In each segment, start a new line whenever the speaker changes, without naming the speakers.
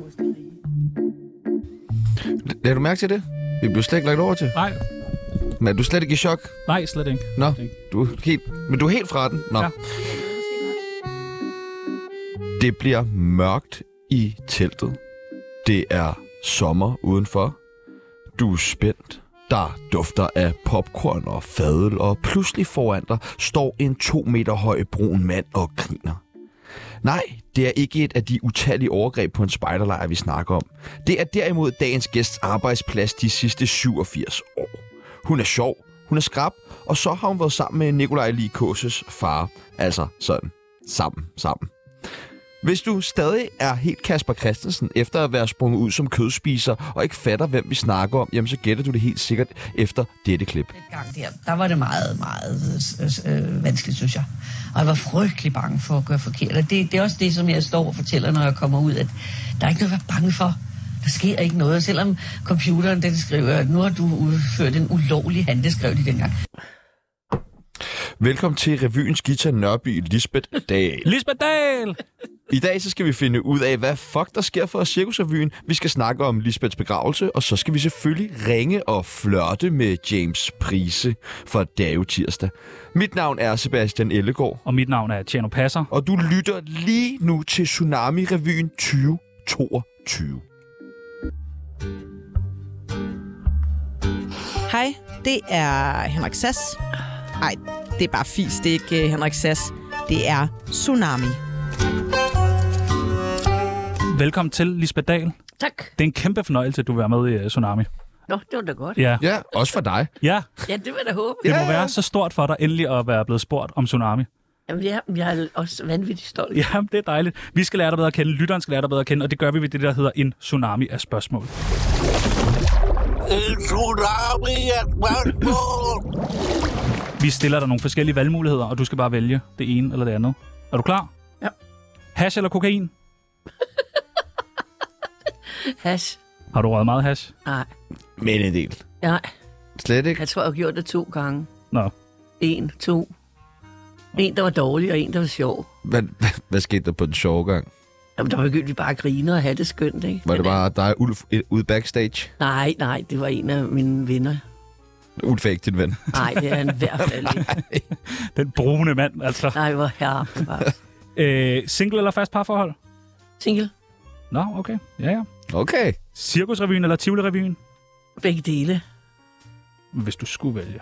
Mosterige.
Lad du mærke til det? Vi blev slet ikke lagt over til.
Nej,
Men er du slet ikke i chok?
nej, slet ikke.
Nå, du er helt, men du er helt fra den. Nå. Ja.
Ja.
Det bliver mørkt i teltet. Det er sommer udenfor. Du er spændt. Der dufter af popcorn og fadel, og pludselig foran dig står en to meter høj brun mand og griner. Nej, det er ikke et af de utallige overgreb på en spejderlejr, vi snakker om. Det er derimod dagens gæsts arbejdsplads de sidste 87 år. Hun er sjov, hun er skrab, og så har hun været sammen med Nikolaj Likåses far. Altså sådan, sammen, sammen. Hvis du stadig er helt Kasper Christensen, efter at være sprunget ud som kødspiser, og ikke fatter, hvem vi snakker om, jamen så gætter du det helt sikkert efter dette klip.
Gang der, der var det meget, meget øh, øh, vanskeligt, synes jeg. Og jeg var frygtelig bange for at gøre forkert. Og det, det er også det, som jeg står og fortæller, når jeg kommer ud, at der er ikke noget at være bange for. Der sker ikke noget, Og selvom computeren den skriver, at nu har du udført en ulovlig handel, det skrev de dengang.
Velkommen til revyens Gita Nørby Lisbeth Dahl.
Lisbeth Dahl!
I dag så skal vi finde ud af, hvad fuck der sker for Cirkusrevyen. Vi skal snakke om Lisbeths begravelse, og så skal vi selvfølgelig ringe og flørte med James Prise for Dave Tirsdag. Mit navn er Sebastian Ellegaard,
Og mit navn er Tjerno Passer.
og du lytter lige nu til Tsunami-revyen 2022.
Hej, det er Henrik Sass. Nej, det er bare fis, det er ikke øh, Henrik Sass. Det er Tsunami.
Velkommen til, Lisbeth Dahl.
Tak.
Det er en kæmpe fornøjelse, at du vil være med i øh, Tsunami.
Nå, det var da godt.
Ja,
Ja, også for dig.
ja
Ja, det var da håbe.
det må
Ja, ja.
være så stort for dig endelig at være blevet spurgt om Tsunami.
Jamen, jeg, jeg er også vanvittigt stolt.
Jamen, det er dejligt. Vi skal lære dig bedre at kende, lytteren skal lære dig bedre at kende, og det gør vi ved det, der hedder en tsunami af spørgsmål.
En tsunami af spørgsmål.
Vi stiller dig nogle forskellige valgmuligheder, og du skal bare vælge det ene eller det andet. Er du klar?
Ja.
Hash eller kokain?
Has.
Har du røget meget hash?
Nej,
Men en del.
nej.
Slet ikke.
Jeg tror, jeg har gjort det to gange.
Nå.
En, to. En, der var dårlig, og en, der var sjov.
Hvad, hvad, hvad skete der på den sjove gang?
Jamen, der begyndte vi bare at grine og have det skønt, ikke?
Var det bare dig og Ulf øh, ude backstage?
Nej, nej, det var en af mine venner.
Ulf er ikke din ven.
Nej, det er han i hvert fald ikke.
Den brune mand, altså.
Nej, hvor herre. var-
Øh, single eller fast parforhold?
Single.
Nå, okay. Ja, ja.
Okay.
Cirkusrevyen eller Tivoli-revyen?
Begge dele.
Hvis du skulle vælge.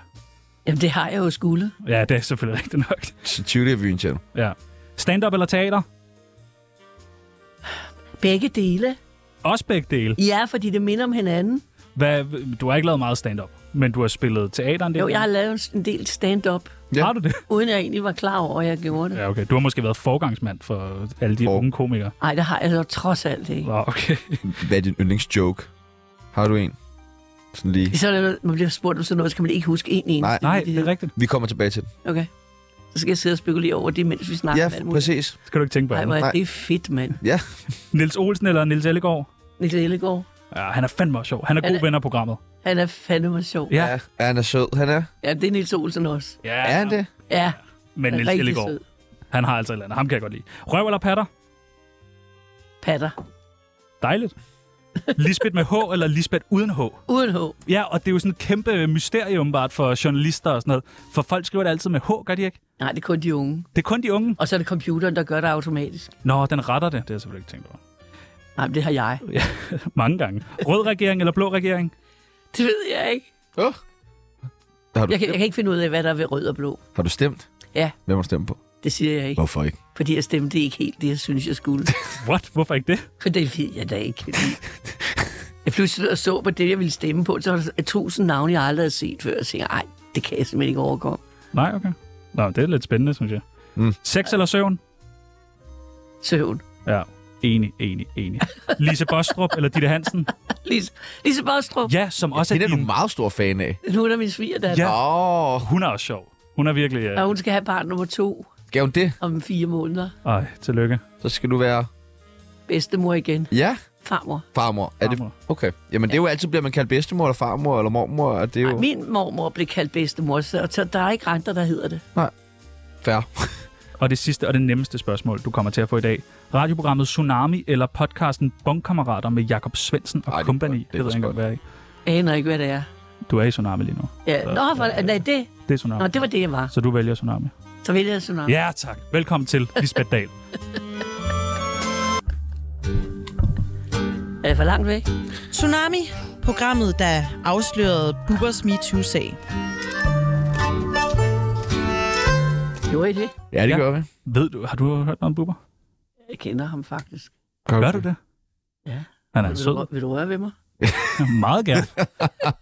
Jamen, det har jeg jo skulle.
Ja, det er selvfølgelig rigtigt nok.
Tivoli-revyen, Tjerno.
Ja. Stand-up eller teater?
Begge dele.
Også begge dele.
Ja, fordi det minder om hinanden.
Hvad, du har ikke lavet meget stand-up, men du har spillet teater en del.
Jo, jeg har lavet en del stand-up,
Ja.
Har du det?
uden jeg egentlig var klar over, at jeg gjorde det.
Ja, okay. Du har måske været forgangsmand for alle de
For-
unge komikere.
Nej, det har jeg så trods alt ikke.
Nå, okay.
Hvad er din yndlingsjoke? Har du en? Sådan lige.
Så er der noget, man bliver spurgt om sådan noget, så kan man ikke huske en eneste.
Nej.
Nej, det er rigtigt.
Vi kommer tilbage til den.
Okay. Så skal jeg sidde og spekulere over det, mens vi snakker
Ja,
om alt muligt.
præcis.
Det skal du ikke tænke på.
Nej, hvor
andet.
Nej.
er det fedt, mand.
Ja.
Nils Olsen eller Nils Ellegaard?
Niels Ellegaard.
Ja, han er fandme også sjov. Han er
Han
god
er-
venner af programmet.
Han er fandme sjov.
Ja.
ja. Han er sød, han er.
ja det er Niels Olsen også.
Ja,
Er han det?
Ja,
Men
han er
Nils
rigtig
Ellegaard,
sød.
han har altså et eller andet. Ham kan jeg godt lide. Røv eller patter?
Patter.
Dejligt. Lisbeth med H eller Lisbeth uden H?
Uden H.
Ja, og det er jo sådan et kæmpe mysterium bare for journalister og sådan noget. For folk skriver det altid med H, gør de ikke?
Nej, det er kun de unge.
Det er kun de unge.
Og så er det computeren, der gør det automatisk.
Nå, den retter det. Det har jeg selvfølgelig ikke tænkt over.
Nej, men det har jeg.
Mange gange. Rød regering eller blå regering?
Det ved jeg ikke.
Oh. Har, du,
Jeg kan, jeg kan ikke finde ud af, hvad der er ved rød og blå.
har du stemt?
Ja.
Hvem har du stemt på?
Det siger jeg ikke.
Hvorfor ikke?
Fordi jeg stemte ikke helt det, jeg synes, jeg skulle.
What? Hvorfor ikke det?
For det ved jeg da ikke. Fordi jeg pludselig så på det, jeg ville stemme på, så var der tusind navne, jeg aldrig havde set før. Jeg tænkte, nej, det kan jeg simpelthen ikke overkomme.
Nej, okay. Nå, det er lidt spændende, synes jeg.
Mm.
Mm. Sex eller søvn?
Søvn.
Ja. Enig, enig, enig. Lise Bostrup eller Ditte Hansen?
Lise, Lise Bostrup.
Ja, som også
Hende
er
er du
din...
meget stor fan af.
Hun er min svigerdatter.
Ja.
Åh,
Hun er også sjov. Hun er virkelig... Øh...
Og hun skal have barn nummer to
gav hun det?
om fire måneder.
Ej, tillykke.
Så skal du være...
Bedstemor igen.
Ja,
Farmor.
farmor. Er det...
Farmor.
Okay. Jamen, det er jo altid, bliver man kaldt bedstemor eller farmor eller mormor, og det er
Ej,
jo
min mormor blev kaldt bedstemor, så så der er ikke andre, der hedder det.
fair.
Og det sidste og det nemmeste spørgsmål, du kommer til at få i dag. Radioprogrammet Tsunami eller podcasten Bongkammerater med Jakob Svendsen og
Ej,
Ej,
det er
Company.
godt.
Det,
Det er
det ved jeg ikke,
godt.
engang, hvad jeg er i.
Jeg aner ikke, hvad det er.
Du er i Tsunami lige nu.
Ja, nå, for, nej, det,
Det er Tsunami.
nå, det var det, jeg var.
Så du vælger Tsunami.
Så ville jeg sådan noget.
Ja, tak. Velkommen til Lisbeth Dahl.
Er jeg for langt væk?
Tsunami, programmet, der afslørede Bubbers MeToo-sag.
Gjorde I det?
Ja, det
Ja.
gør vi.
Ved du, har du hørt noget om Bubber?
Jeg kender ham faktisk.
Gør du det?
Ja.
Han er
vil,
sød.
du, vil du røre ved mig?
meget gerne.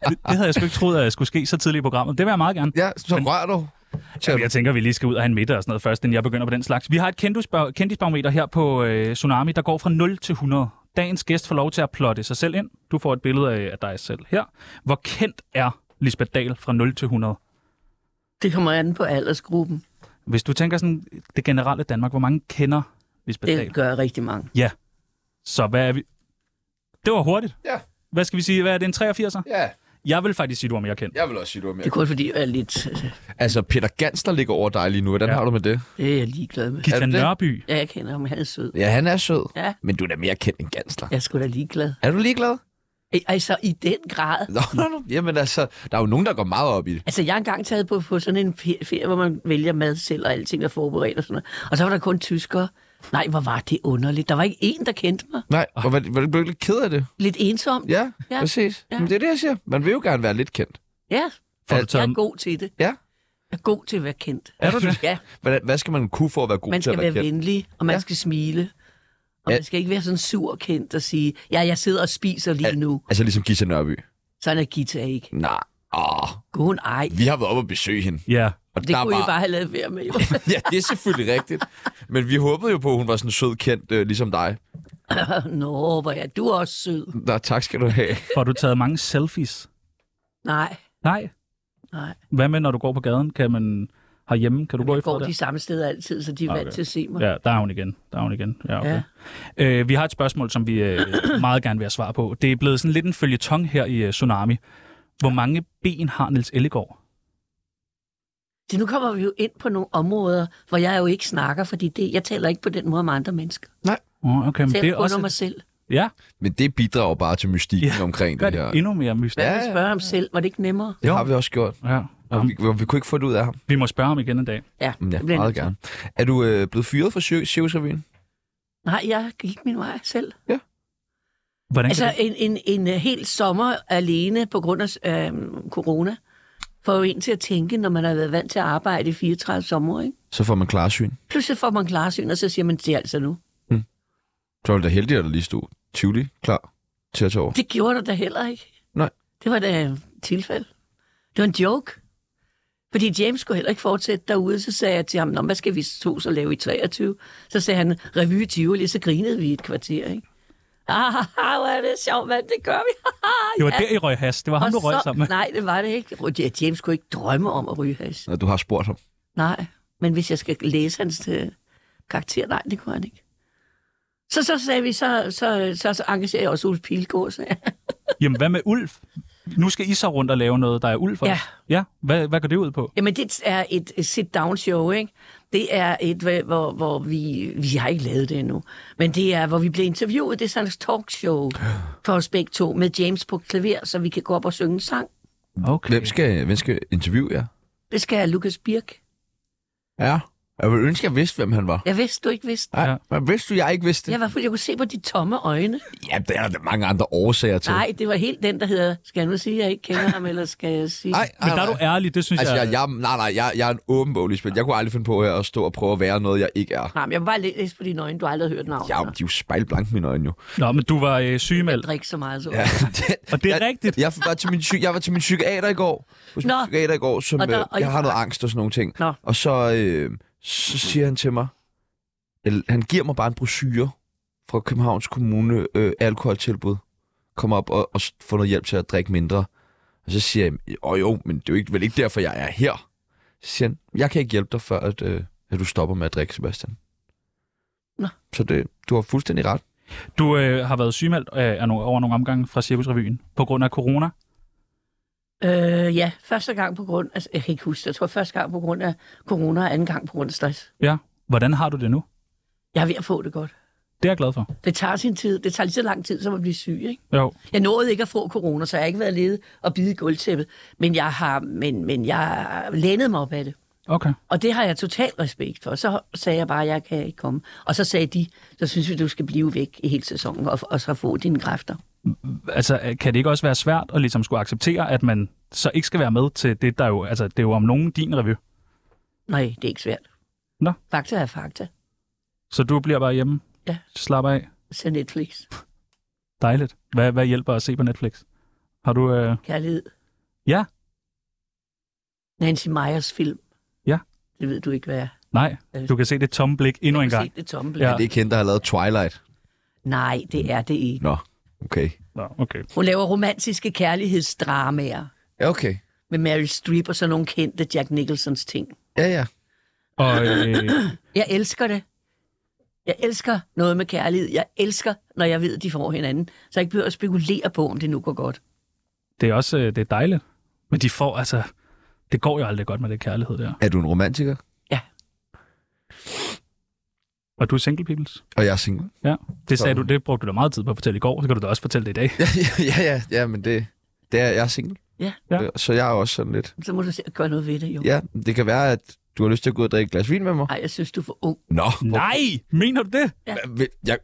Det, det havde jeg sgu ikke troet, at jeg skulle ske så tidligt i programmet. Det vil jeg meget gerne.
Ja, så rør du. Øhm.
Jamen, jeg tænker, vi lige skal ud og have en middag og sådan noget først, inden jeg begynder på den slags. Vi har et kendisbar- kendisbarometer her på øh, Tsunami, der går fra 0 til 100. Dagens gæst får lov til at plotte sig selv ind. Du får et billede af, af dig selv her. Hvor kendt er Lisbeth Dahl fra 0 til 100?
Det kommer an på aldersgruppen.
Hvis du tænker sådan det generelle Danmark, hvor mange kender Lisbeth Dahl?
Det gør rigtig mange.
Så hvad er vi? Det var hurtigt.
Ja.
Hvad skal vi sige? Hvad er det, en 83'er?
Ja,
Jeg vil faktisk sige, du er mere kendt.
jeg vil også sige, du er
Det er
mere.
kun fordi, jeg er lidt... øh,
Altså, Peter Gansler ligger over dig lige nu. Hvordan
Ja.
ja. har du med det?
Det er jeg ligeglad med.
Gita
det det?
Nørby.
Ja, jeg kender ham. Han er sød.
Ja, han er sød.
Ja.
Men du er da mere kendt end Gansler.
Jeg er sgu da ligeglad.
Er du ligeglad?
Ej, Altså, i den grad.
Nå, nå, nå. Jamen altså, der er jo nogen, der går meget op i det.
Altså, jeg har engang taget på, på sådan en fe- ferie, hvor man vælger mad selv, og alting er forberedt og sådan noget. Og så var der kun tyskere. Nej, hvor var det underligt. Der var ikke en, der kendte mig.
Nej, og var, var du blev lidt ked af det?
Lidt ensomt.
Ja,
Ja.
ja. præcis.
Ja.
Ja. Men det er det, jeg siger. Man vil jo gerne være lidt kendt.
Ja,
Får du
Al-
jeg
taget,
er god til det.
Ja.
Jeg er god til at være kendt.
er du det?
Ja,
Hvad, hvad skal man kunne for at være god
man
til at
skal være
være kendt?
venlig, og man
Ja.
skal smile. Og
Ja.
man skal ikke være sådan sur kendt og sige, ja, jeg sidder og spiser lige nu.
Altså ligesom Gita Nørby.
Sådan er Gita ikke.
Nej, åh,
God, ej.
vi har været oppe og besøge hende.
Ja.
Og
Det
der
kunne
var...
I bare have lavet være med. jo.
ja, det er selvfølgelig rigtigt. Men vi håbede jo på, at hun var sådan sød kendt, øh, ligesom dig.
Nå, hvor er du også sød.
Nå, tak skal du have.
Får du taget mange selfies?
Nej,
Nej.
nej.
Hvad med, når du går på gaden? Kan man herhjemme? Kan du gå
Jeg
ifra
går ligesom-
der?
de samme steder altid, så de er
Ah,
vant
okay.
til at se mig.
Ja, der er hun igen. Der er hun igen. Ja, okay. ja. Øh, vi har et spørgsmål, som vi øh, meget gerne vil have svar på. Det er blevet sådan lidt en følgetong her i øh, Tsunami. Hvor mange ben har Niels Ellegaard?
Så nu kommer vi jo ind på nogle områder, hvor jeg jo ikke snakker, fordi det, jeg taler ikke på den måde med andre mennesker.
Oh, okay, men
Så jeg
det er
kun også...
også...
mig selv.
Ja,
Men det bidrager bare til mystikken
Ja,
ja, omkring
gør
det
det
her.
endnu mere mystisk.
Hvad
Ja,
ja, ja.
ja.
spørge ham selv? Var det ikke nemmere?
Det har vi også gjort.
Ja.
Og vi, vi kunne ikke få det ud af ham.
Vi må spørge ham igen en dag.
Ja,
Men Mm,
det
Ja,
bliver jeg
meget
nødt til.
gerne. Er du øh, blevet fyret fra Cir- Cirkusrevyen?
Nej, jeg gik min vej selv.
Hvordan altså,
Altså
kan
en, en, en øh, hel sommer alene på grund af øh, corona får jo en til at tænke, når man har været vant til at arbejde i 34 sommer. Ikke?
Så får man klarsyn.
Pludselig får man klarsyn, og så siger man, det er altså nu.
Så var det da heldigt, at der lige stod Tivoli klar til at tage over.
Det gjorde der da heller ikke.
Nej.
Det var da et tilfælde. Det var en joke. Fordi James skulle heller ikke fortsætte derude, så sagde jeg til ham, Nå, hvad skal vi to så lave i 23? Så sagde han, revy i Tivoli, så grinede vi i et kvarter, ikke? Ah, hvor er det sjovt, mand, det gør vi.
det var der, I røg has. Det var ham,
Og
du røg
så-
sammen med.
Nej, det var det ikke. Ja, James kunne ikke drømme om at ryge hash.
Når du har spurgt ham.
Nej, men hvis jeg skal læse hans øh, karakter, nej, det kunne han ikke. Så, så sagde vi, så, så, så, så engagerer jeg også Ulf Pilgaard, sagde jeg.
Jamen, hvad med Ulf? Nu skal I så rundt og lave noget, der er Ulf for.
Ja.
ja. Hvad, hvad går det ud på?
Jamen, det er et et sit-down-show, ikke? Det er et, hvor- hvor, hvor vi... Vi har ikke lavet det endnu. Men det er, hvor vi bliver interviewet. Det er sådan et talkshow for os begge to, med James på klaver, så vi kan gå op og synge en sang.
Okay.
Hvem skal, hvem skal interviewe jer?
Det skal Lukas Birk.
Ja. Jeg ville ønske, at jeg vidste, hvem han var.
Jeg vidste, du ikke vidste.
Nej,
Ja.
ja. men vidste du, jeg ikke vidste det?
Jeg, var, fuld- jeg kunne se på de tomme øjne.
Ja, der er der mange andre årsager til.
Nej, det var helt den, der hedder, skal jeg nu sige, at jeg ikke kender ham, eller skal jeg sige...
Ej,
Men der
ej,
er du ærlig, det synes
Altså,
jeg...
jeg, jeg, nej, nej, jeg, jeg er en åben bog, Lisbeth. Jeg kunne aldrig finde på her at stå og prøve at være noget, jeg ikke er.
Nej, men jeg må bare læ- læse på dine øjne, du har aldrig hørt navnet.
Jeg, de er jo spejlblank, mine øjne jo.
Nå, men du var øh,
Jeg
sygemeldt.
drikker så meget, så.
Ja,
Ja.
det,
Og det er
jeg,
rigtigt.
Jeg var, til min, psy- jeg var til min psykiater i går. Hos min
Nå.
psykiater i går, som
Og der-
øh,
og I
jeg har
har-
noget angst og sådan nogle ting.
Nå.
Og så, øh, så siger han til mig, eller, han giver mig bare en brochure fra Københavns Kommune øh, alkoholtilbud. Kom op og, og s- få noget hjælp til at drikke mindre. Og så siger jeg, åh jo, men det er jo ikke, vel ikke derfor, jeg er her. Så siger han, jeg kan ikke hjælpe dig, før at, øh, at du stopper med at drikke, Sebastian.
Nå.
Så det, du har fuldstændig ret.
Du øh, har været sygemeldt øh, af no- over nogle omgange fra Cirkusrevyen på grund af corona.
Øh, ja, første gang på grund af... Jeg kan ikke huske det. Jeg tror, første gang på grund af corona, og anden gang på grund af stress.
Ja. Hvordan har du det nu?
Jeg er ved at få det godt.
Det er jeg glad for.
Det tager sin tid. Det tager lige så lang tid, som at blive syg, ikke?
Jo.
Jeg nåede ikke at få corona, så jeg har ikke været lede og bide i gulvtæppet. Men jeg har, men, men jeg lænede mig op af det.
Okay.
Og det har jeg total respekt for. Så sagde jeg bare, at jeg kan ikke komme. Og så sagde de, så synes vi, du skal blive væk i hele sæsonen og, og så få dine kræfter.
Altså, øh, kan det ikke også være svært at ligesom skulle acceptere, at man så ikke skal være med til det, der jo... Altså, det er jo om nogen din revy.
Nej, det er ikke svært.
Nå.
Fakta er fakta.
Så du bliver bare hjemme?
Ja.
Slap af?
Så Netflix.
Dejligt. Hvad, hvad hjælper at se på Netflix? Har du... Øh...
Kærlighed.
Ja.
Nancy Meyers film.
Ja.
Det ved du ikke, hvad er.
Nej,
Øh,
du kan se det tomme blik endnu en
Jeg har
gang.
set det tomme
Ja.
ja.
Er det ikke hende, der har lavet Twilight?
Nej, det er det ikke.
Nå, okay.
Nå, okay.
Hun laver romantiske kærlighedsdramaer
Ja, okay.
med Meryl Streep og sådan nogle kendte Jack Nicholsons ting.
Ja, ja.
Og øh,
Jeg elsker det. Jeg elsker noget med kærlighed. Jeg elsker, når jeg ved, at de får hinanden. Så jeg ikke behøver at spekulere på, om det nu går godt.
det er også øh, det er dejligt. Men de får altså... Det går jo aldrig godt med det kærlighed der.
Er du en romantiker?
Og du er single peoples.
Og jeg er single.
Ja. Det, sagde du,
Sådan.
det brugte du da meget tid på at fortælle i går, så kan du da også fortælle det i dag.
ja, ja, ja, men det, det er, jeg er single.
Ja.
Ja.
Så jeg er også sådan lidt...
Så må du se- gøre noget ved det, jo.
Ja, det kan være, at du har lyst til at gå ud og drikke et glas vin med mig.
Ej, jeg synes, du er for ung.
Nå,
Nej! Mener du det?
vil- jeg,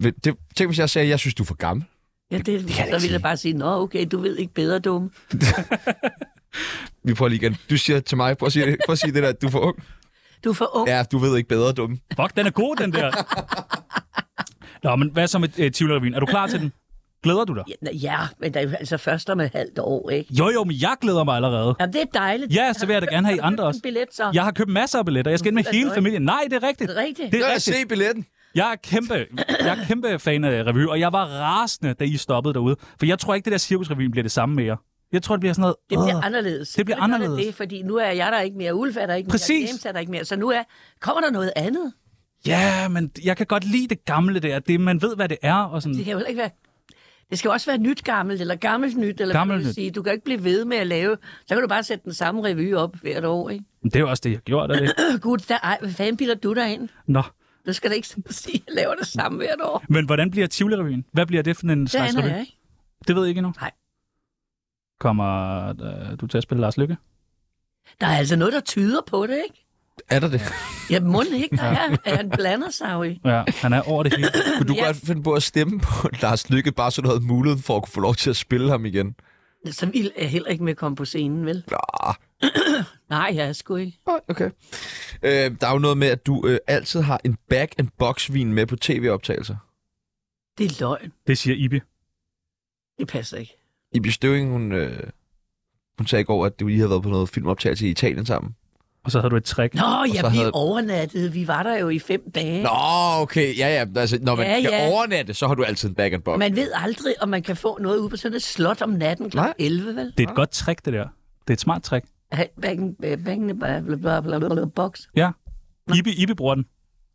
vil- det, tænk, hvis jeg sagde, at jeg synes, du er for gammel.
Ja, det, det
jeg
så
ikke
vil
sige.
jeg bare sige, nå okay, du ved ikke bedre, dumme.
Vi prøver lige igen. Du siger til mig, prøv at sige, det- prøv at sige det der, at du er for ung.
Du er for ung.
Ja, du ved ikke bedre, dumme.
Fuck, den er god, den der. Nå, men hvad så med øh, Tivoli Er du klar til den? Glæder du dig?
Ja, nå, ja men der er jo altså først om et halvt år, ikke?
Jo, jo, men jeg glæder mig allerede.
Jamen, det er dejligt.
Ja, så vil jeg da gerne have I andre
En
også.
billet, så.
Jeg har købt masser af billetter. Jeg skal ind med
Hvad
hele
døgn?
familien. Nej, det er rigtigt.
Det er rigtigt.
Det
Nå,
er
jeg
rigtigt.
se billetten.
Jeg er kæmpe, jeg er kæmpe fan af revy, og jeg var rasende, da I stoppede derude. For jeg tror ikke, det der cirkusrevyen bliver det samme mere. Jeg tror, det bliver sådan
Det
noget...
bliver
"Åh."
anderledes.
Det bliver
Nu gør
anderledes.
Det, fordi nu er jeg der ikke mere, Ulf er der ikke mere,
Præcis.
James er der ikke mere. Så nu er, kommer der noget andet.
Ja, men jeg kan godt lide det gamle der. Det, man ved, hvad det er. Og sådan.
Det kan jo heller ikke være... Det skal jo også være nyt gammelt, eller gammelt nyt, eller
Gammelt
hvad man vil
nyt.
sige. Du kan jo ikke blive ved med at lave... Så kan du bare sætte den samme revy op hvert år, ikke?
Men Det er jo også det, jeg har gjort af det.
Øh, Gud, der, ej, hvad fanden bilder du dig ind?
Nå.
Du skal da ikke sådan sige, at jeg laver det samme hvert år.
Men hvordan bliver Tivoli-revyen? Hvad bliver det for en
Det
slags
aner
revy?
jeg ikke.
Det ved jeg ikke endnu.
Nej.
Kommer øh, du til at spille Lars Lykke?
Der er altså noget, der tyder på det, ikke?
Er der det?
Ja, mund ikke, der er, at han blander sig jo i.
Ja, han er over det hele.
Kunne du
Ja.
godt finde på at stemme på Lars Lykke, bare så du havde muligheden for at kunne få lov til at spille ham igen?
Så vild er jeg heller ikke med at komme på scenen, vel?
Nå,
Nej, jeg er sgu ikke.
nej, okay. Øh, der er jo noget med, at du øh, altid har en bag-and-box-vin med på tv-optagelser.
Det er løgn.
Det siger Ibi.
Det passer ikke.
Ibi Støving, hun, øh, hun sagde i går, at du lige havde været på noget filmoptagelse i Italien sammen.
Og så havde du et trick.
Nå, ja,
så
vi
havde-
havde... overnattede. Vi var der jo i fem dage.
Nå, okay. Ja, ja. Altså, når man
Ja,
ja, skal
ja.
overnatte, så har du altid en bag-and-box.
Man ved aldrig, om man kan få noget ude på sådan et slot om natten kl.
Nej.
11, vel?
Det er et godt trick, det der. Det er et smart trick.
Bang, bang, bang, bla, bla, bla, bla, box.
Ja. Ibi, Ibi bruger den.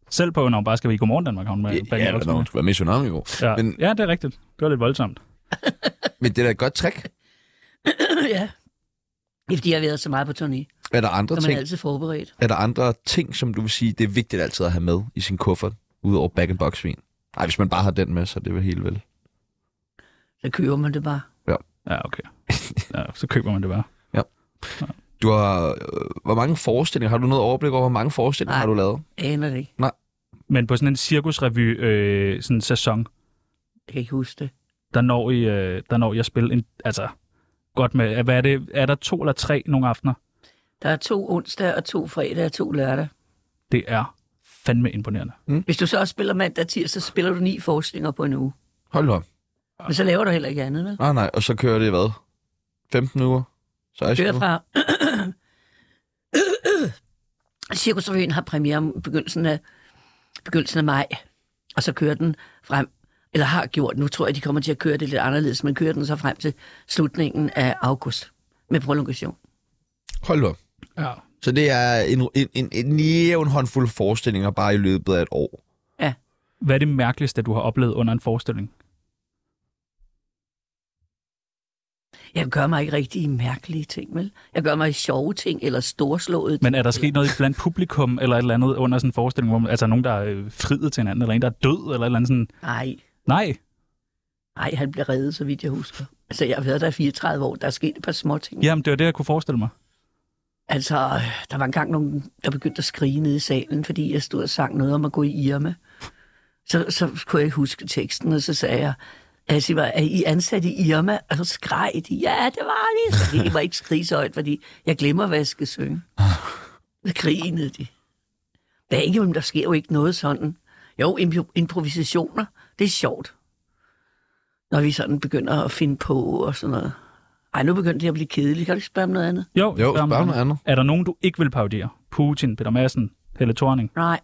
Selv på, når hun bare skal være i Godmorgen Danmark. har Hun med,
Ja, ja, når hun skulle være med i Tsunami i går.
ja.
Men-
Men... ja, det er rigtigt. Det var lidt voldsomt.
Men det er da et godt trick.
ja. Det er, fordi jeg har været så meget på turné,
Er der andre
så man
ting?
er altid forberedt.
Er der andre ting, som du vil sige, det er vigtigt altid at have med i sin kuffert, udover bag box vin Nej, hvis man bare har den med, så er det vel helt vel.
Så køber man det bare.
Ja, okay. Ja, så køber man det bare.
Du har, øh, hvor mange forestillinger, har du noget overblik over, hvor mange forestillinger
Nej.
har du lavet?
Jeg aner det ikke.
Men på sådan en cirkusrevy øh, sådan en sæson,
Jeg kan ikke huske det.
der når, I, øh, der når jeg at spille en, altså, godt med, hvad er det, er der to eller tre nogle aftener?
Der er to onsdag og to fredag og to lørdag.
Det er fandme imponerende.
Hvis du så også spiller mandag og tirsdag, så spiller du ni forskninger på en uge.
Hold da op.
Men så laver du heller ikke andet, vel?
Nej, nej, og så kører det hvad? 15 uger? 16
Kører
uger?
fra... Cirkusrevyen har premiere om begyndelsen af, begyndelsen af maj, og så kører den frem, eller har gjort, nu tror jeg, de kommer til at køre det lidt anderledes, men kører den så frem til slutningen af august med prolongation.
Hold da op.
Ja.
Så det er en, en, en, en jævn håndfuld forestillinger bare i løbet af et år.
Hvad er det mærkeligste, du har oplevet under en forestilling?
Jeg gør mig ikke rigtig mærkelige ting, vel? Jeg gør mig sjove ting, eller storslåede ting.
Men er der sket noget blandt publikum, eller et eller andet under sådan en forestilling, hvor man, altså nogen, der er øh, friet til hinanden, eller en, der er død, eller et eller andet sådan,
Nej,
nej,
nej, han blev reddet, så vidt jeg husker. Altså, jeg har været der i 34 år, der er sket et par små ting.
jamen det var det, jeg kunne forestille mig.
Altså, der var engang nogen, der begyndte at skrige nede i salen, fordi jeg stod og sang noget om at gå i Irma. Så, så kunne jeg ikke huske teksten, og så sagde jeg, altså, var, er I ansat i Irma? Og så skreg de, ja, det var de. Fordi de var ikke skrige så højt, fordi jeg glemmer, hvad jeg skal synge. Så grinede de. Der, er ikke, der sker jo ikke noget sådan. Jo, impro- improvisationer, det er sjovt. Når vi sådan begynder at finde på og sådan noget. Ej, nu begyndte det at blive kedeligt. Kan du ikke spørge om noget andet?
Jo,
Jo,
spørg om
spørg om noget andet.
Er der nogen, du ikke vil parodiere? Putin, Peter Madsen, Helle Thorning,
Nej.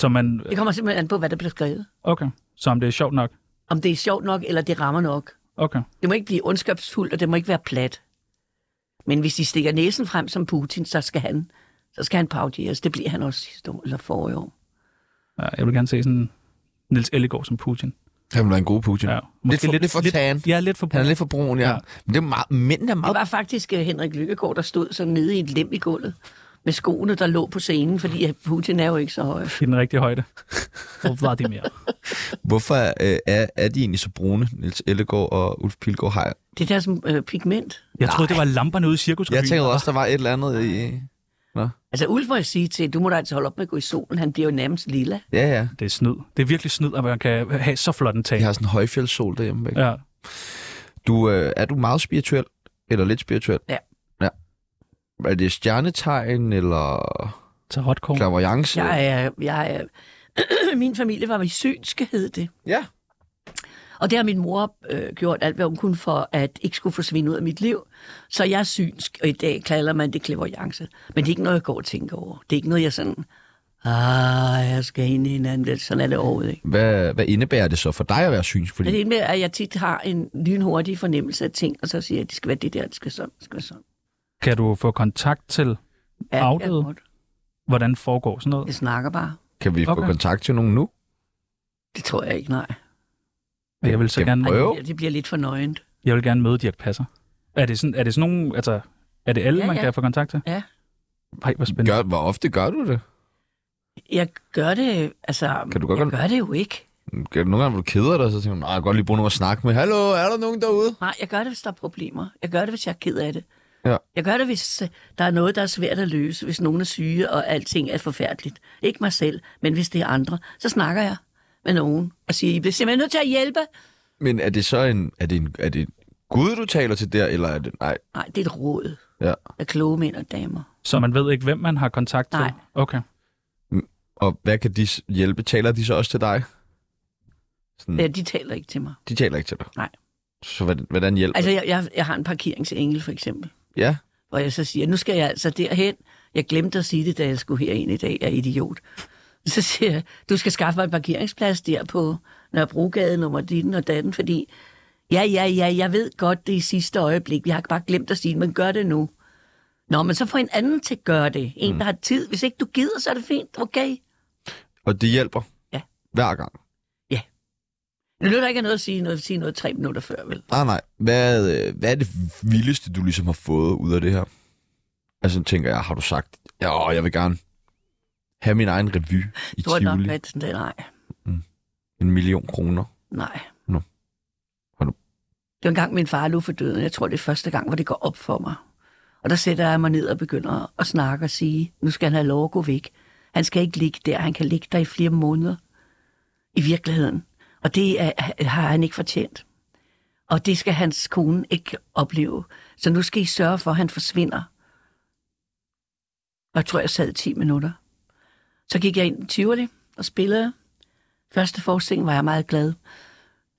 som man,
Det kommer simpelthen an på, hvad der bliver skrevet.
okay, som det er sjovt nok,
Om det er sjovt nok, eller det rammer nok.
okay.
Det må ikke blive ondskabsfuldt, og det må ikke være plat. Men hvis de stikker næsen frem som Putin, så skal han, så skal han paudieres. Det bliver han også sidste år, eller forrige år.
Ja, jeg vil gerne se sådan Nils Ellegaard som Putin.
Han vil være en god Putin.
Ja.
Ja. Lidt for, lidt, lidt for tan.
Lidt, ja, lidt for
Han er lidt for brun, ja.
Ja.
ja. Men det er meget, mændene er
Det
meget...
var faktisk øh, Henrik Lykkegaard, der stod sådan nede i et lem i gulvet med skoene, der lå på scenen, fordi øh, Putin er jo ikke så høj.
i den rigtige højde. Og Vladimir.
Hvorfor øh, er, er de egentlig så brune, Niels Ellegaard og Ulf Pilgaard Heier?
Det der som øh, pigment.
Jeg troede, det var lamperne ude i cirkusrevyen.
Jeg tænkte også, der var et eller andet i...
Altså Ulf må jeg sige til, du må da altså holde op med at gå i solen. Han bliver jo nærmest lilla.
Ja, ja.
Det er snyd. Det er virkelig snyd, at man kan have så flot en tag.
Jeg har sådan en højfjeldssol derhjemme. Ikke? Ja.
Ja.
Du, øh, er du meget spirituel? Eller lidt spirituel?
Ja.
ja. Er det stjernetegn, eller
Så hotcore.
clairvoyance?
Jeg er, jeg er, min familie var synske, hed det.
Ja.
Og det har min mor øh, gjort alt, hvad hun kunne for, at ikke skulle forsvinde ud af mit liv. Så jeg er synsk, og i dag kalder man det klavoyance. Men det er ikke noget, jeg går og tænker over. Det er ikke noget, jeg sådan, ah, jeg skal ind i en anden. Sådan er det overhovedet ikke.
Hvad, hvad indebærer det så for dig at være synsk? Fordi
Men det er med, at jeg tit har en lynhurtig fornemmelse af ting, og så siger jeg, at det skal være det der, det skal sådan, det skal være sådan.
Kan du få kontakt til,
Ja, det
Afdøde?
er godt.
hvordan foregår sådan noget?
Jeg snakker bare.
kan vi okay.
Okay.
få kontakt til nogen nu?
Det tror jeg ikke, nej.
Jeg vil så
Jamen,
gerne,
Ej, det,
Prøv.
bliver, det bliver lidt for nøgent.
jeg vil gerne møde Dirk Passer. Er det sådan, er det sådan nogen, altså, er det alle,
Ja,
man
ja.
kan få kontakt til?
Ja.
Ej, hvor spændende.
Gør, hvor ofte gør du det?
Jeg gør det, altså,
Kan du godt
jeg
gøre-
gør det jo ikke.
Gør du nogle gange, hvor du keder dig, så tænker du, "Nå, jeg kan godt lige bruge nogen at snakke med. Hallo, er der nogen derude?
Nej, jeg gør det, hvis der er problemer. Jeg gør det, hvis jeg er ked af det.
Ja.
Jeg gør det, hvis øh, der er noget, der er svært at løse, hvis nogen er syge, og alting er forfærdeligt. Ikke mig selv, men hvis det er andre, så snakker jeg med nogen og siger, I bliver simpelthen nødt til at hjælpe.
Men er det så en, er det en, er det en Gud, du taler til der, eller er det, nej,
Nej, det er et råd
ja.
af kloge mænd og damer.
Så man ved ikke, hvem man har kontakt til?
Nej.
Okay.
Og hvad kan de s- hjælpe? Taler de så også til dig? Sådan,
Ja, de taler ikke til mig.
De taler ikke til dig?
Nej.
Så hvordan, hvordan hjælper
Altså, jeg, jeg, jeg har en parkeringsengel, for eksempel,
Ja,
hvor jeg så siger, nu skal jeg altså derhen. Jeg glemte at sige det, da jeg skulle herind i dag, jeg er idiot. Så siger jeg, du skal skaffe mig en parkeringsplads der på Nørrebrogade nummer ditten og datten, fordi ja, ja, ja, jeg ved godt, det er i sidste øjeblik. Jeg har bare glemt at sige det, men gør det nu. Nå, men så får en anden til at gøre det. En, der har tid. Hvis ikke du gider, så er det fint. Okay.
og det hjælper?
Ja.
Hver gang?
Nu lytter ikke noget at sige noget, sige noget tre minutter før, vel?
Nej, nej. Hvad, øh, hvad er det vildeste, du ligesom har fået ud af det her? Altså, tænker jeg, har du sagt, ja, åh, jeg vil gerne have min egen revy i
Du har nok
Tivoli.
været sådan der, nej,
En million kroner.
nej.
Nå. Har du-
Det var en gang, min far lå for døden. Jeg tror, det er første gang, hvor det går op for mig. Og der sætter jeg mig ned og begynder at snakke og sige, nu skal han have lov at gå væk. Han skal ikke ligge der. Han kan ligge der i flere måneder. I virkeligheden. Og det er, har han ikke fortjent. Og det skal hans kone ikke opleve. Så nu skal I sørge for, at han forsvinder. Og jeg tror, jeg sad 10 minutter. Så gik jeg ind i Tivoli og spillede. Første forestilling var jeg meget glad.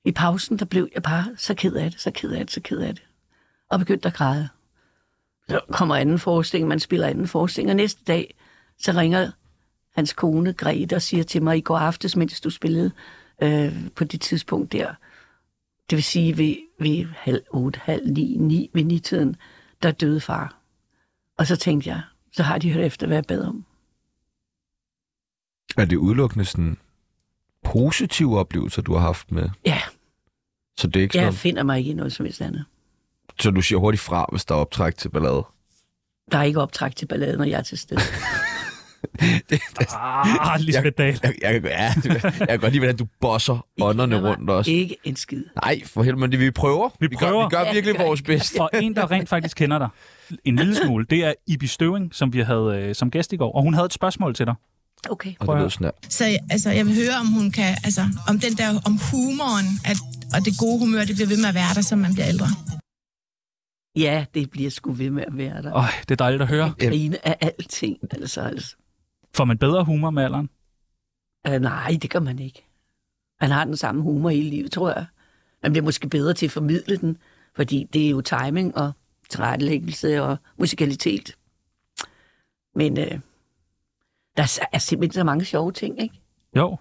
I pausen, der blev jeg bare så ked af det, så ked af det, så ked af det. Og begyndte at græde. Så kommer anden forestilling, man spiller anden forestilling, og næste dag, så ringer hans kone Grete og siger til mig, i går aftes, mens du spillede øh, på det tidspunkt der, det vil sige ved, ved halv otte, halv ni, ni, ved nitiden, der døde far. Og så tænkte jeg, så har de hørt efter, hvad jeg bad om.
Er det udelukkende sådan positive oplevelser, du har haft med?
Ja,
Så det er ikke
jeg
sådan,
finder mig ikke i noget som helst andet.
Så du siger hurtigt fra, hvis der er optræk til ballade.
Der er ikke optræk til balladen, når jeg er til stede.
Ah, Lisbeth Dahl.
Jeg, jeg, ja, det- jeg kan godt lide, hvordan du bosser ånderne rundt os.
Ikke en skid.
Nej, for helvede, men det, vi prøver.
Vi prøver.
Gør, vi gør
Ja,
virkelig
det gør
vores bedste.
Og en, der rent faktisk kender dig en lille smule, det er Ibi Støving, som vi havde øh, som gæst i går. Og hun havde et spørgsmål til dig.
Okay.
Og
Prøv
det
at-
lød sådan her.
Så altså, jeg vil høre, om hun kan, altså, om den der, om humoren, at, og det gode humør, det bliver ved med at være der, som man bliver ældre.
Ja, det bliver sgu ved med at være der.
Øj, det er dejligt at høre.
Jamen.
Grine af alting, altså. altså.
Får man bedre humor med alderen?
Uh, nej, det gør man ikke. Man har den samme humor hele livet, tror jeg. Man bliver måske bedre til at formidle den, fordi det er jo timing og tilrettelæggelse og musikalitet. Men uh, der er s- er simpelthen så mange sjove ting, ikke?
Jo.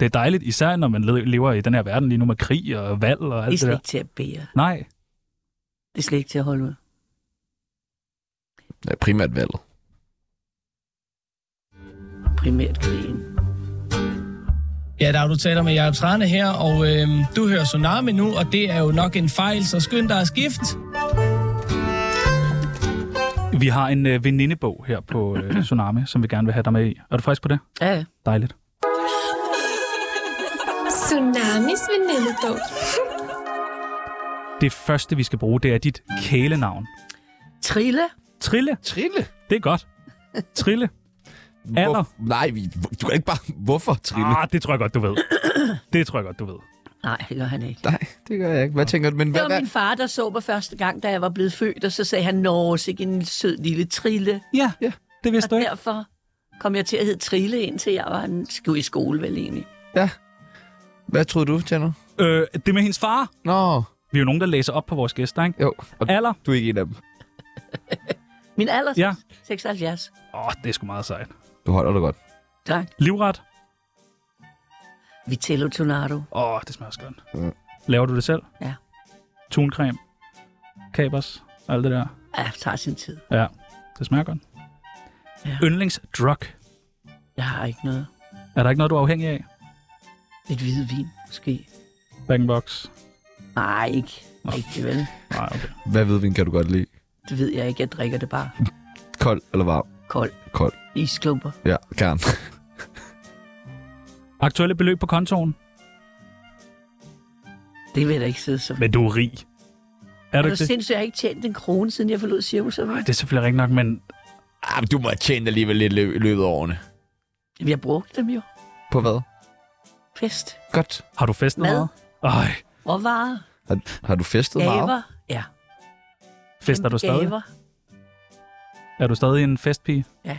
Det er dejligt, især når man le- lever i den her verden lige nu med krig og valg og
Det er
alt det
slet
der.
ikke til at bære.
Nej,
Det er slet ikke til at holde ud.
Ja, primært valget.
Primært krigen.
Ja, der er du taler med Jacob Trane her, og øh, du hører Tsunami nu, og det er jo nok en fejl, så skynd dig at skifte.
vi har en øh, venindebog her på øh, Tsunami, som vi gerne vil have dig med i. Er du frisk på det?
Ja, ja.
Dejligt.
Tsunamis venindebog.
Det første, vi skal bruge, det er dit kælenavn.
Trille.
Trille.
Trille?
Det er godt. Trille. Alder.
Hvor, nej, vi, du kan ikke bare... Hvorfor Trille?
Ah, det tror jeg godt, du ved. Det tror jeg godt, du ved.
Nej, det gør han ikke.
Nej, det gør jeg ikke. Hvad tænker du? Men
Det
hvad,
var
hvad?
min far, der så mig første gang, da jeg var blevet født, og så sagde han, Nå, sikke en sød lille trille.
Ja, ja. det vidste
Og
du ikke.
derfor kom jeg til at hedde Trille, indtil jeg var en, skulle i skole, vel egentlig.
Ja. Hvad troede du, Tjerno?
Øh, det med hendes far.
Nå,
Vi er jo nogen, der læser op på vores gæster, ikke?
jo. Og
Alder.
du er ikke en af dem.
Min alder?
Ja.
76.
Åh, oh, det er sgu meget sejt.
Du holder dig godt.
Tak.
Livret.
Vitello Tornado.
Åh, oh, det smager også godt.
Mm.
Laver du det selv?
Ja.
Tuncreme. Kapers. Alt det der.
Ja, det tager sin tid.
Ja, det smager godt.
Ja.
Yndlingsdrug.
Jeg har ikke noget.
Er der ikke noget, du er afhængig af?
Lidt hvidvin, måske.
Bangbox.
Nej, ikke. Rigtig vel.
Nej, okay.
Hvad hvidvin kan du godt lide?
Det ved jeg ikke. Jeg drikker det bare
Kold eller varm?
kold.
Kold.
Isklumper.
Ja, gerne.
Aktuelle beløb på kontoen.
Det vil jeg da ikke sidde som.
Men du er rig. Er
Er
du
du
ikke det?
sindssygt, jeg har ikke tjent en krone, siden jeg forlod cirkus.
Nej, det er selvfølgelig rigtigt nok, men
Ah, men du må have tjent alligevel lidt i lø- løbet af årene.
Jamen, Jeg brugte dem jo.
På hvad?
Fest.
Godt.
har du festet
Mad.
meget? Ej,
Råvarer.
Har, har du festet meget?
Gaver. Ja.
fester du stadig?
Gaver.
Er du stadig en festpige?
Ja.
Ej,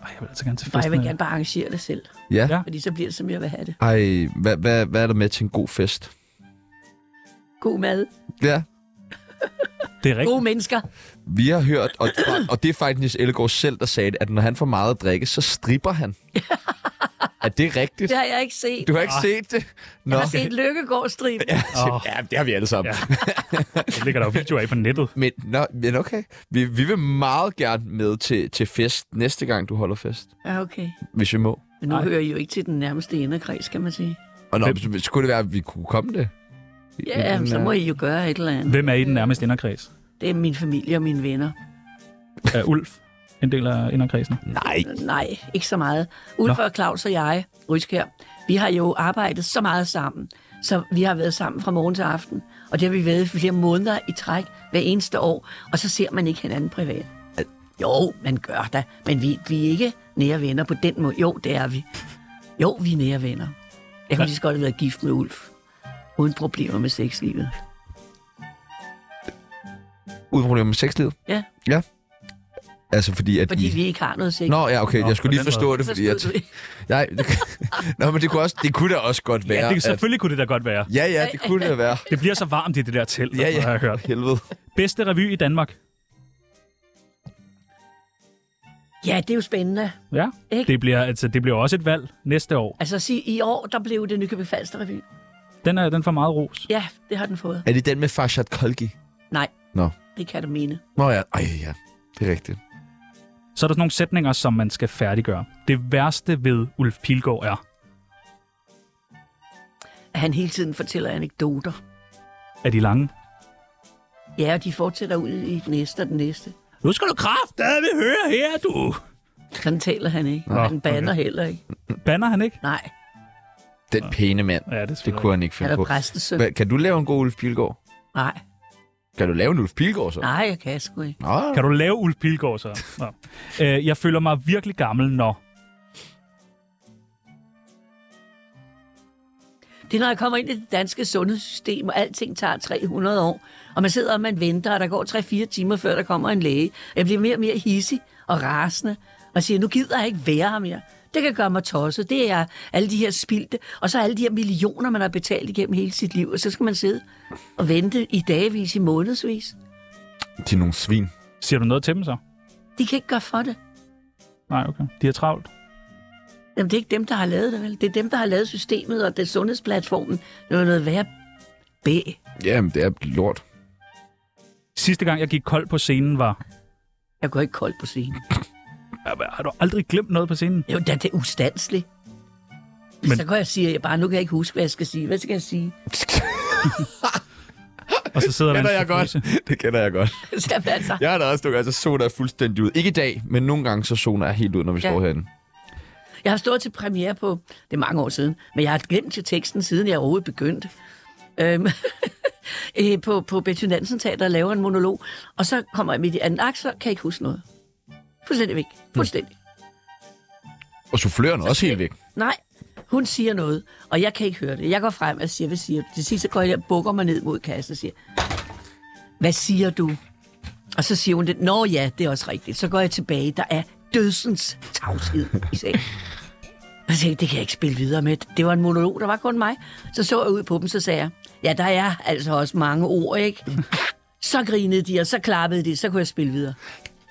jeg vil altså gerne til
Nej,
festen.
jeg vil gerne bare arrangere det selv.
Ja.
Ja.
ja.
Fordi så bliver det, som jeg vil have det.
Ej, hvad, hvad, hvad er der med til en god fest?
God mad.
Ja.
Det er rigtigt.
Gode mennesker.
Vi har hørt, og, og det er faktisk Niels Ellegaard selv, der sagde det, at når han får meget at drikke, så stripper han. er det rigtigt?
Det har jeg ikke set.
Du har ikke set det? Nå.
Jeg har set Lykkegård-striben.
Åh.
Ja, det har vi alle sammen.
Ja. Det ligger der jo videoer af på nettet.
Men, nå, men okay, vi, vi vil meget gerne med til, til fest næste gang, du holder fest,
Ja, okay.
hvis vi må.
Men nu
Nej.
Ej. hører I jo ikke til den nærmeste inderkreds, kan man sige.
Og nå,
Hvem-
så skulle det være, at vi kunne komme det?
Ja, jamen, så må I jo gøre et eller andet.
Hvem er i den nærmeste inderkreds?
Det er min familie og mine venner.
Er Ulf en del af inderkredsen?
Nej,
Nej, ikke så meget. Ulf og Claus og jeg, Ryskær, vi har jo arbejdet så meget sammen, så vi har været sammen fra morgen til aften. Og det har vi været i flere måneder i træk hver eneste år, og så ser man ikke hinanden privat. Jo, man gør da, men vi, vi er ikke nære venner på den måde. Jo, det er vi. Jo, vi er nære venner. Jeg kunne lige så godt have været gift med Ulf, uden problemer med sexlivet.
uden problemer med sexlivet.
Ja.
Ja. Altså fordi, at
Fordi
I...
vi ikke har noget sex.
Nå, ja, okay,
Nå,
jeg skulle
på
lige
den
forstå
måde.
det, fordi jeg...
Forstod du ikke?
Nej, det... Nå, men det kunne, også, det kunne da også godt være,
Ja, det,
at...
selvfølgelig kunne det da godt være.
Ja, ja, det kunne det være.
Det bliver så varmt i det der telt,
Ja,
ja, ja.
ja.
har jeg hørt.
Helvede.
Bedste revy i Danmark.
Ja, det er jo spændende.
Ja,
Ikke?
det bliver, altså, det bliver også et valg næste år.
Altså sig, i år, der blev det Nykøbing Falster Revy.
Den, er, den får meget ros.
Ja, det har den fået.
Er det den med Farshad Kolgi?
Nej.
Nå.
Det kan du mene.
Nå ja, ej ja, det er rigtigt.
Så er der sådan nogle sætninger, som man skal færdiggøre. Det værste ved Ulf Pilgaard er,
At han hele tiden fortæller anekdoter.
er de lange.
Ja, og de fortsætter ud i den næste og den næste.
Nu skal du kraftedeme høre her, du!
Sådan taler han ikke.
Nå,
Nå, han banner okay. heller ikke.
Banner han ikke?
Nej,
Den pæne mand.
Ja, det er
Det
selvfølgelig
kunne han ikke
han
finde
er
på.
præstesøn.
Hva, kan du lave en god Ulf Pilgaard?
Nej,
Kan du lave en Ulf Pilgaard så?
nej, jeg kan sgu ikke.
Nå,
Kan du lave Ulf Pilgaard så? Nå. Øh, jeg føler mig virkelig gammel, når...
Det er, når jeg kommer ind i det danske sundhedssystem, og alting tager 300 år, og man sidder og man venter, og der går 3-4 timer, før der kommer en læge. Jeg bliver mere og mere hissig og rasende, og siger, nu gider jeg ikke være her mere. Det kan gøre mig tosset. Det er alle de her spildte, og så alle de her millioner, man har betalt igennem hele sit liv, og så skal man sidde og vente i dagevis, i månedsvis.
Til nogle svin.
Siger du noget til dem så?
De kan ikke gøre for det.
Nej, okay. De er travlt.
Jamen, det er ikke dem, der har lavet det, vel? Det er dem, der har lavet systemet og det sundhedsplatformen. Det er noget værre B.
Jamen, det er lort.
Sidste gang, jeg gik kold på scenen, var...
Jeg går ikke kold på scenen.
Jamen, Har du aldrig glemt noget på scenen?
Jo, da det er ustandsligt.
Men-
Men... Så kan jeg sige, at jeg bare, nu kan jeg ikke huske, hvad jeg skal sige. Hvad skal jeg sige?
Og så sidder der en
Kender jeg godt.
forfrose.
Det kender jeg godt.
Så jeg altså,
Jeg har da også nogle gange, så zoner jeg fuldstændig ud. Ikke i dag, men nogle gange, så zoner jeg helt ud, når vi ja.
Ja.
står herinde.
jeg har stået til premiere på, det er mange år siden, men jeg har glemt til teksten, siden jeg overhovedet begyndte. Øhm, øh, på, på Betty Nansen Teater og laver en monolog, og så kommer jeg midt i anden akt, så kan jeg ikke huske noget. Fuldstændig væk. Fuldstændig.
Og souffløren er også helt væk.
Nej, hun siger noget, og jeg kan ikke høre det. Jeg går frem og siger, hvad siger du? Til sidst så går jeg og bukker mig ned mod kassen og siger, hvad siger du? Og så siger hun det, nå ja, det er også rigtigt. Så går jeg tilbage, der er dødsens tavshed i sagen. Og så tænkte jeg, det kan jeg ikke spille videre med. Det var en monolog, der var kun mig. Så så jeg ud på dem, så sagde jeg, ja, der er altså også mange ord, ikke? Så grinede de, og så klappede de, så kunne jeg spille videre.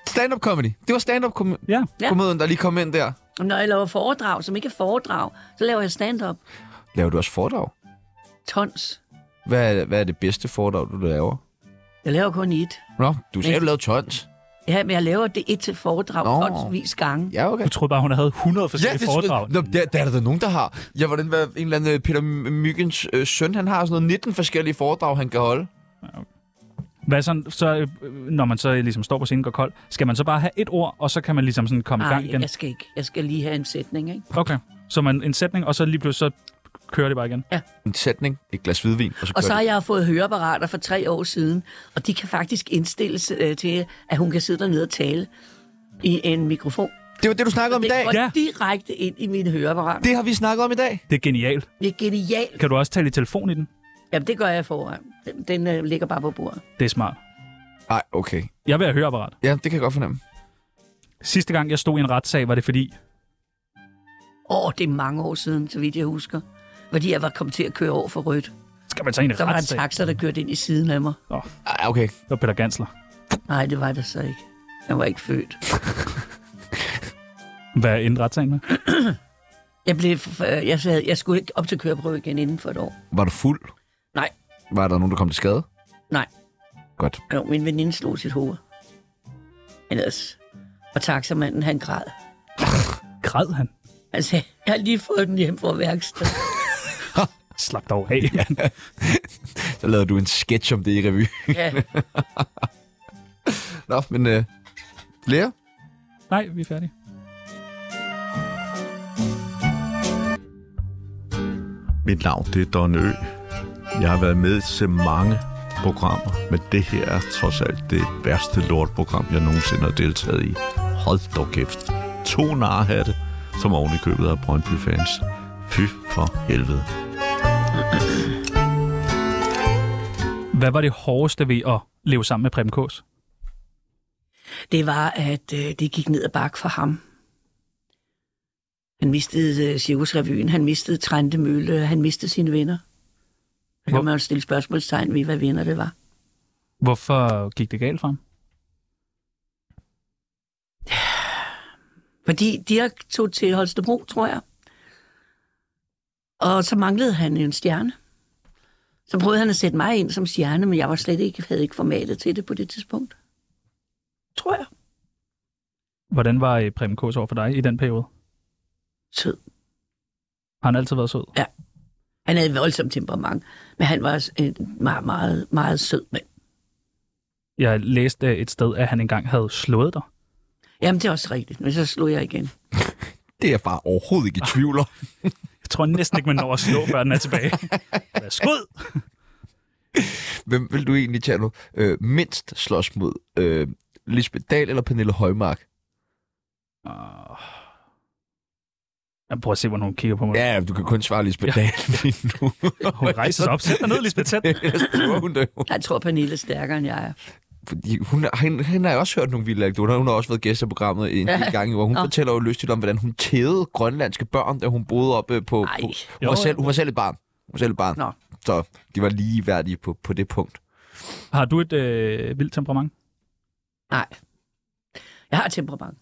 Stand-up comedy. Det var stand-up kom-
Ja.
Ja.
komedien, der lige kom ind der.
Og når jeg laver foredrag, som ikke er foredrag, så laver jeg stand-up.
Laver du også foredrag?
Tons.
Hvad er, hvad er det bedste foredrag, du laver?
Jeg laver kun et.
Nå, du sagde, du lavede tons.
Ja, men jeg laver det et til foredrag
Nå.
tonsvis gange. Ja.
Ja, okay.
Du troede bare, hun havde 100 forskellige ja, foredrag.
Nå, der, der er der nogen, der har. Jeg var den, hvad, en eller anden øh, Peter Myggens øh, søn, han har sådan noget 19 forskellige foredrag, han kan holde.
Hvad sådan, så, øh, når man så ligesom står på scenen og går kold, skal man så bare have et ord, og så kan man ligesom sådan komme i gang
Nej,
igen?
jeg skal ikke. Jeg skal lige have en sætning, ikke?
Okay. Så man en sætning, og så lige pludselig så kører det bare igen.
En sætning, et glas hvidvin, og så
Og
kører
så har
det.
jeg fået høreapparater for tre år siden, og de kan faktisk indstilles øh, til, at hun kan sidde dernede og tale i en mikrofon.
Det var det, du snakkede om i
Det
dag.
går
Ja.
ja. direkte ind i mine høreapparater.
Det har vi snakket om i dag.
Det er genialt.
Det er genialt.
Kan du også tale i telefon i den?
Jamen, det gør jeg foran. Den, den øh, ligger bare på bordet.
Det er smart.
Nej, okay.
Jeg vil have høreapparat.
Ja, det kan jeg godt fornemme.
Sidste gang, jeg stod i en retssag, var det fordi...
Åh, det er mange år siden, så vidt jeg husker. Fordi jeg var kommet til at køre over for rødt.
Skal man tage i en
Så var der en
retssag?
taxa, der kørte ind i siden af mig.
Ej, okay.
Det var Peter Gansler.
Nej, det var der så ikke. Jeg var ikke født.
Hvad endte retssagen med?
Jeg, blev, øh, jeg, sad, jeg skulle ikke op til køreprøve igen inden for et år.
Var du fuld?
Nej.
Var der nogen, der kom til skade?
Nej.
Godt.
Jo, min veninde slog sit hoved. Men ellers... Og taxamanden, han græd.
Græd han?
Han sagde, jeg har lige fået den hjem fra værksted.
Slap dog af.
Så lavede du en sketch om det i revy.
ja.
Nå, men øh, flere?
Nej, vi er færdige.
Mit navn det er Don Ø. Jeg har været med til mange programmer, men det her er trods alt det værste lortprogram, jeg nogensinde har deltaget i. Hold dog kæft. To narhatte, som oven i købet af Brøndby-fans. Fy for helvede.
Hvad var det hårdeste ved at leve sammen med Preben Kås?
Det var, at øh, det gik ned ad bakke for ham. Han mistede øh, Cirkusrevyen, han mistede Trente Mølle, han mistede sine venner. Så
Hvor-
kan man jo stille spørgsmålstegn ved, hvad venner det var.
Hvorfor gik det galt for ham?
Fordi Dirk tog til Holstebro, tror jeg. Og så manglede han en stjerne. Så prøvede han at sætte mig ind som stjerne, men jeg var slet ikke, havde ikke formatet til det på det tidspunkt. Tror jeg.
Hvordan var øh, Preben Kås over for dig i den periode?
Sød.
Har han altid været sød?
Han havde et voldsomt temperament, men han var en meget, meget, meget sød mand.
Jeg læste øh, et sted, at han engang havde slået dig.
Jamen, det er også rigtigt. Men så slog jeg igen.
Det er jeg bare overhovedet ikke i tvivl om.
Jeg tror næsten ikke, man når at slå, før den er tilbage. Skud!
Hvem vil du egentlig, Tjerno, øh, mindst slås mod? Øh, Lisbeth Dahl eller Pernille Højmark?
Uh... Jeg prøver at se, hvordan hun kigger på mig.
Ja, du kan kun svare Lisbeth
Ja.
Dahl lige nu.
Hun rejser sig op. Sæt dig ned, Lisbeth. Sæt. dig.
Ellers prøver hun det jo.
Jeg tror, Pernille er stærkere, end jeg er.
Fordi hun, hende, hende har jeg også hørt nogle vilde anekdoter. Hun har også været gæst i programmet en del gange, hvor hun
Nå.
fortæller jo lystigt om, hvordan hun tævede grønlandske børn, da hun boede op øh, på...
Ej.
på hun,
Jo,
var
jo.
selv, hun var selv et barn. Hun var selv et barn.
Nå.
Så de var ligeværdige på, på det punkt.
Har du et øh, vildt temperament?
Nej. Jeg har temperament.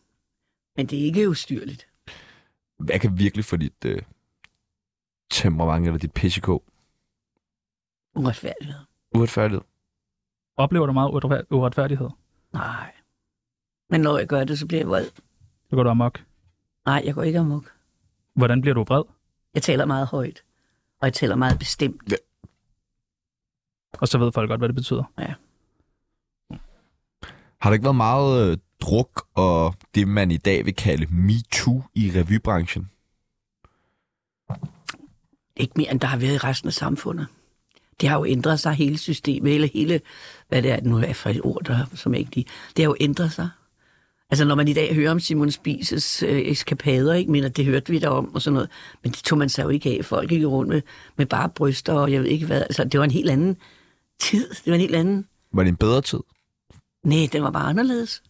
Men det er ikke ustyrligt.
Hvad kan virkelig få dit øh, temperament eller dit pissekå
Uretfærdighed.
uretfærdighed?
Oplever du meget uretfærd- uretfærdighed?
Nej. Men når jeg gør det, så bliver jeg vred.
Så går du amok.
Nej, jeg går ikke amok.
Hvordan bliver du vred?
Jeg taler meget højt. Og jeg taler meget bestemt.
Og så ved folk godt, hvad det betyder.
Har der ikke været meget øh, druk og det, man i dag vil kalde MeToo i revybranchen?
Ikke mere, end der har været i resten af samfundet. Det har jo ændret sig hele systemet, eller hele, hvad det er, nu er det for et ord, der, som jeg ikke lige... Det har jo ændret sig. Altså, når man i dag hører om Simon Spises øh, eskapader, ikke? Men at det hørte vi da om og sådan noget. Men det tog man sig jo ikke af. Folk gik jo rundt med, med bare bryster, og jeg ved ikke hvad. Altså, det var en helt anden tid. Det var en helt anden...
Var det en bedre tid?
Nej, den var bare anderledes.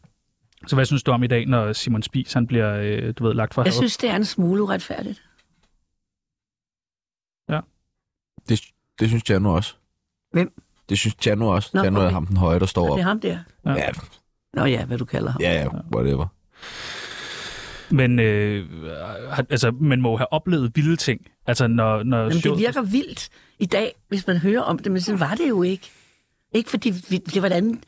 Så hvad synes du om i dag, når Simon Spies han bliver øh, du ved, lagt fra
Jeg
havet?
synes, det er en smule uretfærdigt.
Det, det synes Jano også.
Hvem?
Det synes Jano også. Nå,
Nå,
Jano er
okay.
ham den høje, der står
Og
op.
det er ham der.
Ja,
Nå ja, hvad du kalder ham.
ja, ja, whatever.
Men, øh, har, altså, man må jo have oplevet vilde ting. Altså, når, når
Jamen, det
showet-
virker vildt i dag, hvis man hører om det, men sådan var det jo ikke. Ikke fordi vi, det var et andet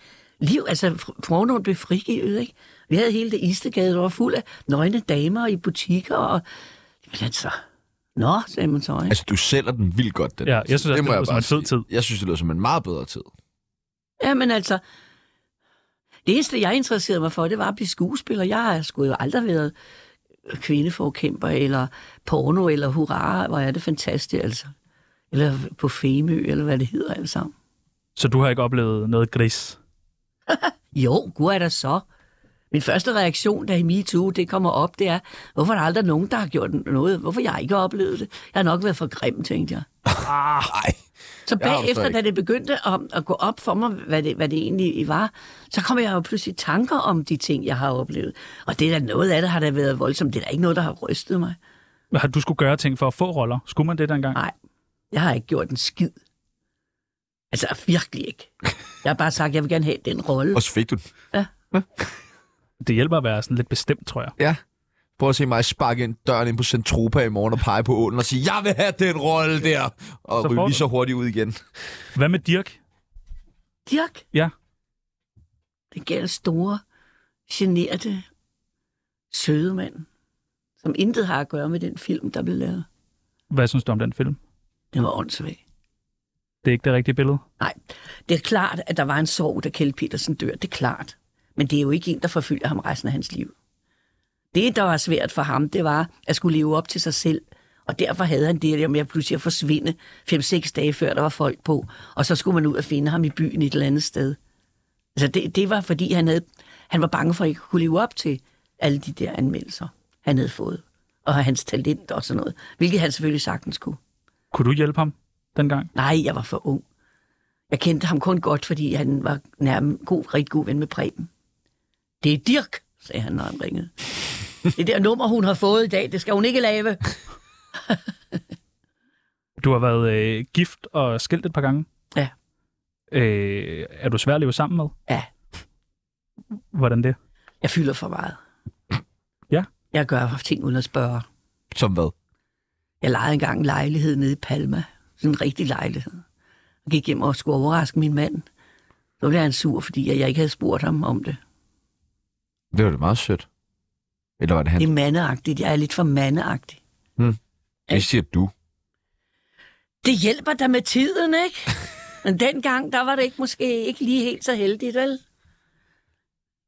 liv. Altså, pornoen blev frigivet, ikke? Vi havde hele det Istegade, der var fuld af nøgne damer i butikker, og... Men altså... Nå, sagde man så, ikke?
Altså, du sælger den vildt godt, den
Ja,
her
jeg
tid.
synes også, det
må
lyder som
bare
en fed
sige.
tid.
Jeg synes, det lyder som en meget bedre tid.
Ja, men altså... Det eneste, jeg interesserede mig for, det var at blive skuespiller. Jeg har sgu jo aldrig været kvindeforkæmper, eller porno, eller hurra, hvor er det fantastisk, altså. Eller på Femø, eller hvad det hedder alt sammen.
Så du har ikke oplevet noget gris?
Jo, gud er der så. Min første reaktion, da i MeToo det kommer op, det er, hvorfor er der aldrig nogen, der har gjort noget? Hvorfor jeg ikke har oplevet det? Jeg har nok været for grim, tænkte jeg.
Ah, nej.
Så
Jeg har det
bagefter,
stadig.
da det begyndte at, at gå op for mig, hvad det, hvad det egentlig var, så kom jeg jo pludselig i tanker om de ting, jeg har oplevet. Og det er da noget af det, har da været voldsomt. Det er da ikke noget, der har rystet mig.
Har du skulle gøre ting for at få roller? Skulle man det dengang?
Nej, jeg har ikke gjort en skid. Altså virkelig ikke. Jeg har bare sagt, at jeg vil gerne have den rolle.
Og så fik du den.
Det hjælper at være sådan lidt bestemt, tror jeg.
Ja. Prøv at se mig sparke ind døren ind på Centropa i morgen og pege på ålen og sige, jeg vil have den rolle der! Og så
Så får
ryge lige
du.
så hurtigt ud igen.
Hvad med Dirk?
Dirk,
Ja.
Det gælder store, generte, søde mand, som intet har at gøre med den film, der blev lavet.
Hvad synes du om den film?
Den var åndssvag.
Det er ikke det rigtige billede.
Nej, det er klart, at der var en sorg, da Kjeld Petersen dør. Det er klart. Men det er jo ikke en, der forfølger ham resten af hans liv. Det, der var svært for ham, det var at skulle leve op til sig selv. Og derfor havde han det der med at pludselig at forsvinde 5-6 dage før, der var folk på. Og så skulle man ud og finde ham i byen et eller andet sted. Altså det, det var, fordi han, havde, han var bange for, at ikke kunne leve op til alle de der anmeldelser, han havde fået. Og hans talent og sådan noget. Hvilket han selvfølgelig sagtens kunne.
Kunne du hjælpe ham dengang?
Nej, jeg var for ung. Jeg kendte ham kun godt, fordi han var nærmest god, rigtig god ven med Preben. Det er Dirk, sagde han, når han ringede. Det der nummer, hun har fået i dag, det skal hun ikke lave.
Du har været øh, gift og skilt et par gange.
Ja.
Øh, er du svær at leve sammen med?
Ja.
Hvordan det?
Jeg fylder for meget.
Ja.
Jeg gør ting uden at spørge.
Som hvad?
Jeg lejede engang en lejlighed nede i Palma. Sådan en rigtig lejlighed. Jeg gik hjem og skulle overraske min mand. Så blev han sur, fordi jeg ikke havde spurgt ham om det.
Det var det meget sødt. Eller var det han?
Det er mandeagtigt. Jeg er lidt for mandeagtig.
Det siger du.
Det hjælper dig med tiden, ikke? Men dengang, der var det ikke måske ikke lige helt så heldigt, vel?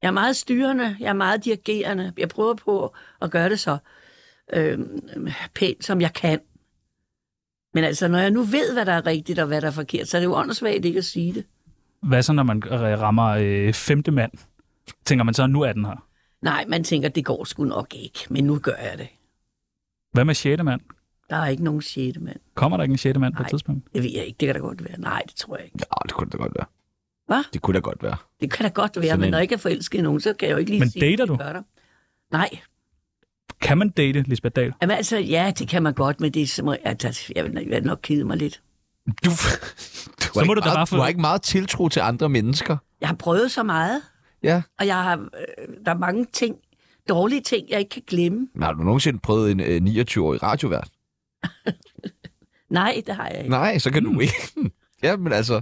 Jeg er meget styrende, jeg er meget dirigerende. Jeg prøver på at gøre det så øh, pænt, som jeg kan. Men altså, når jeg nu ved, hvad der er rigtigt og hvad der er forkert, så er det jo åndssvagt ikke at sige det.
Hvad så, når man øh, rammer øh, femte mand? Tænker man så, nu er den her.
Nej, man tænker, det går sgu nok ikke, men nu gør jeg det.
Hvad med sjette mand?
Der er ikke nogen sjette mand.
Kommer der ikke en sjette mand på et
Nej.
tidspunkt?
Det ved jeg ikke, det kan da godt være. Nej, det tror jeg ikke.
Ja, det kunne da godt være.
Hva?
Det kunne da godt være.
Det kan da godt være,
Sådan
men
en-
når jeg ikke er forelsket i nogen, så kan jeg jo ikke lige
Men
sige,
dater du?
Gør der. Nej,
Kan man date Lisbeth Dahl?
Jamen, altså, ja, det kan man godt, men det er som, at jeg vil jeg vil nok kede mig lidt.
Du, du har
må
ikke
du da
meget,
bare få-
Du har ikke meget tiltro til andre mennesker.
Jeg har prøvet så meget,
Ja.
og jeg har, øh, der er mange ting, dårlige ting, jeg ikke kan glemme.
Men har du nogensinde prøvet en øh, 29-årig radiovært?
Nej, det har jeg ikke.
Nej, så kan du ikke. Hmm. ja, men altså...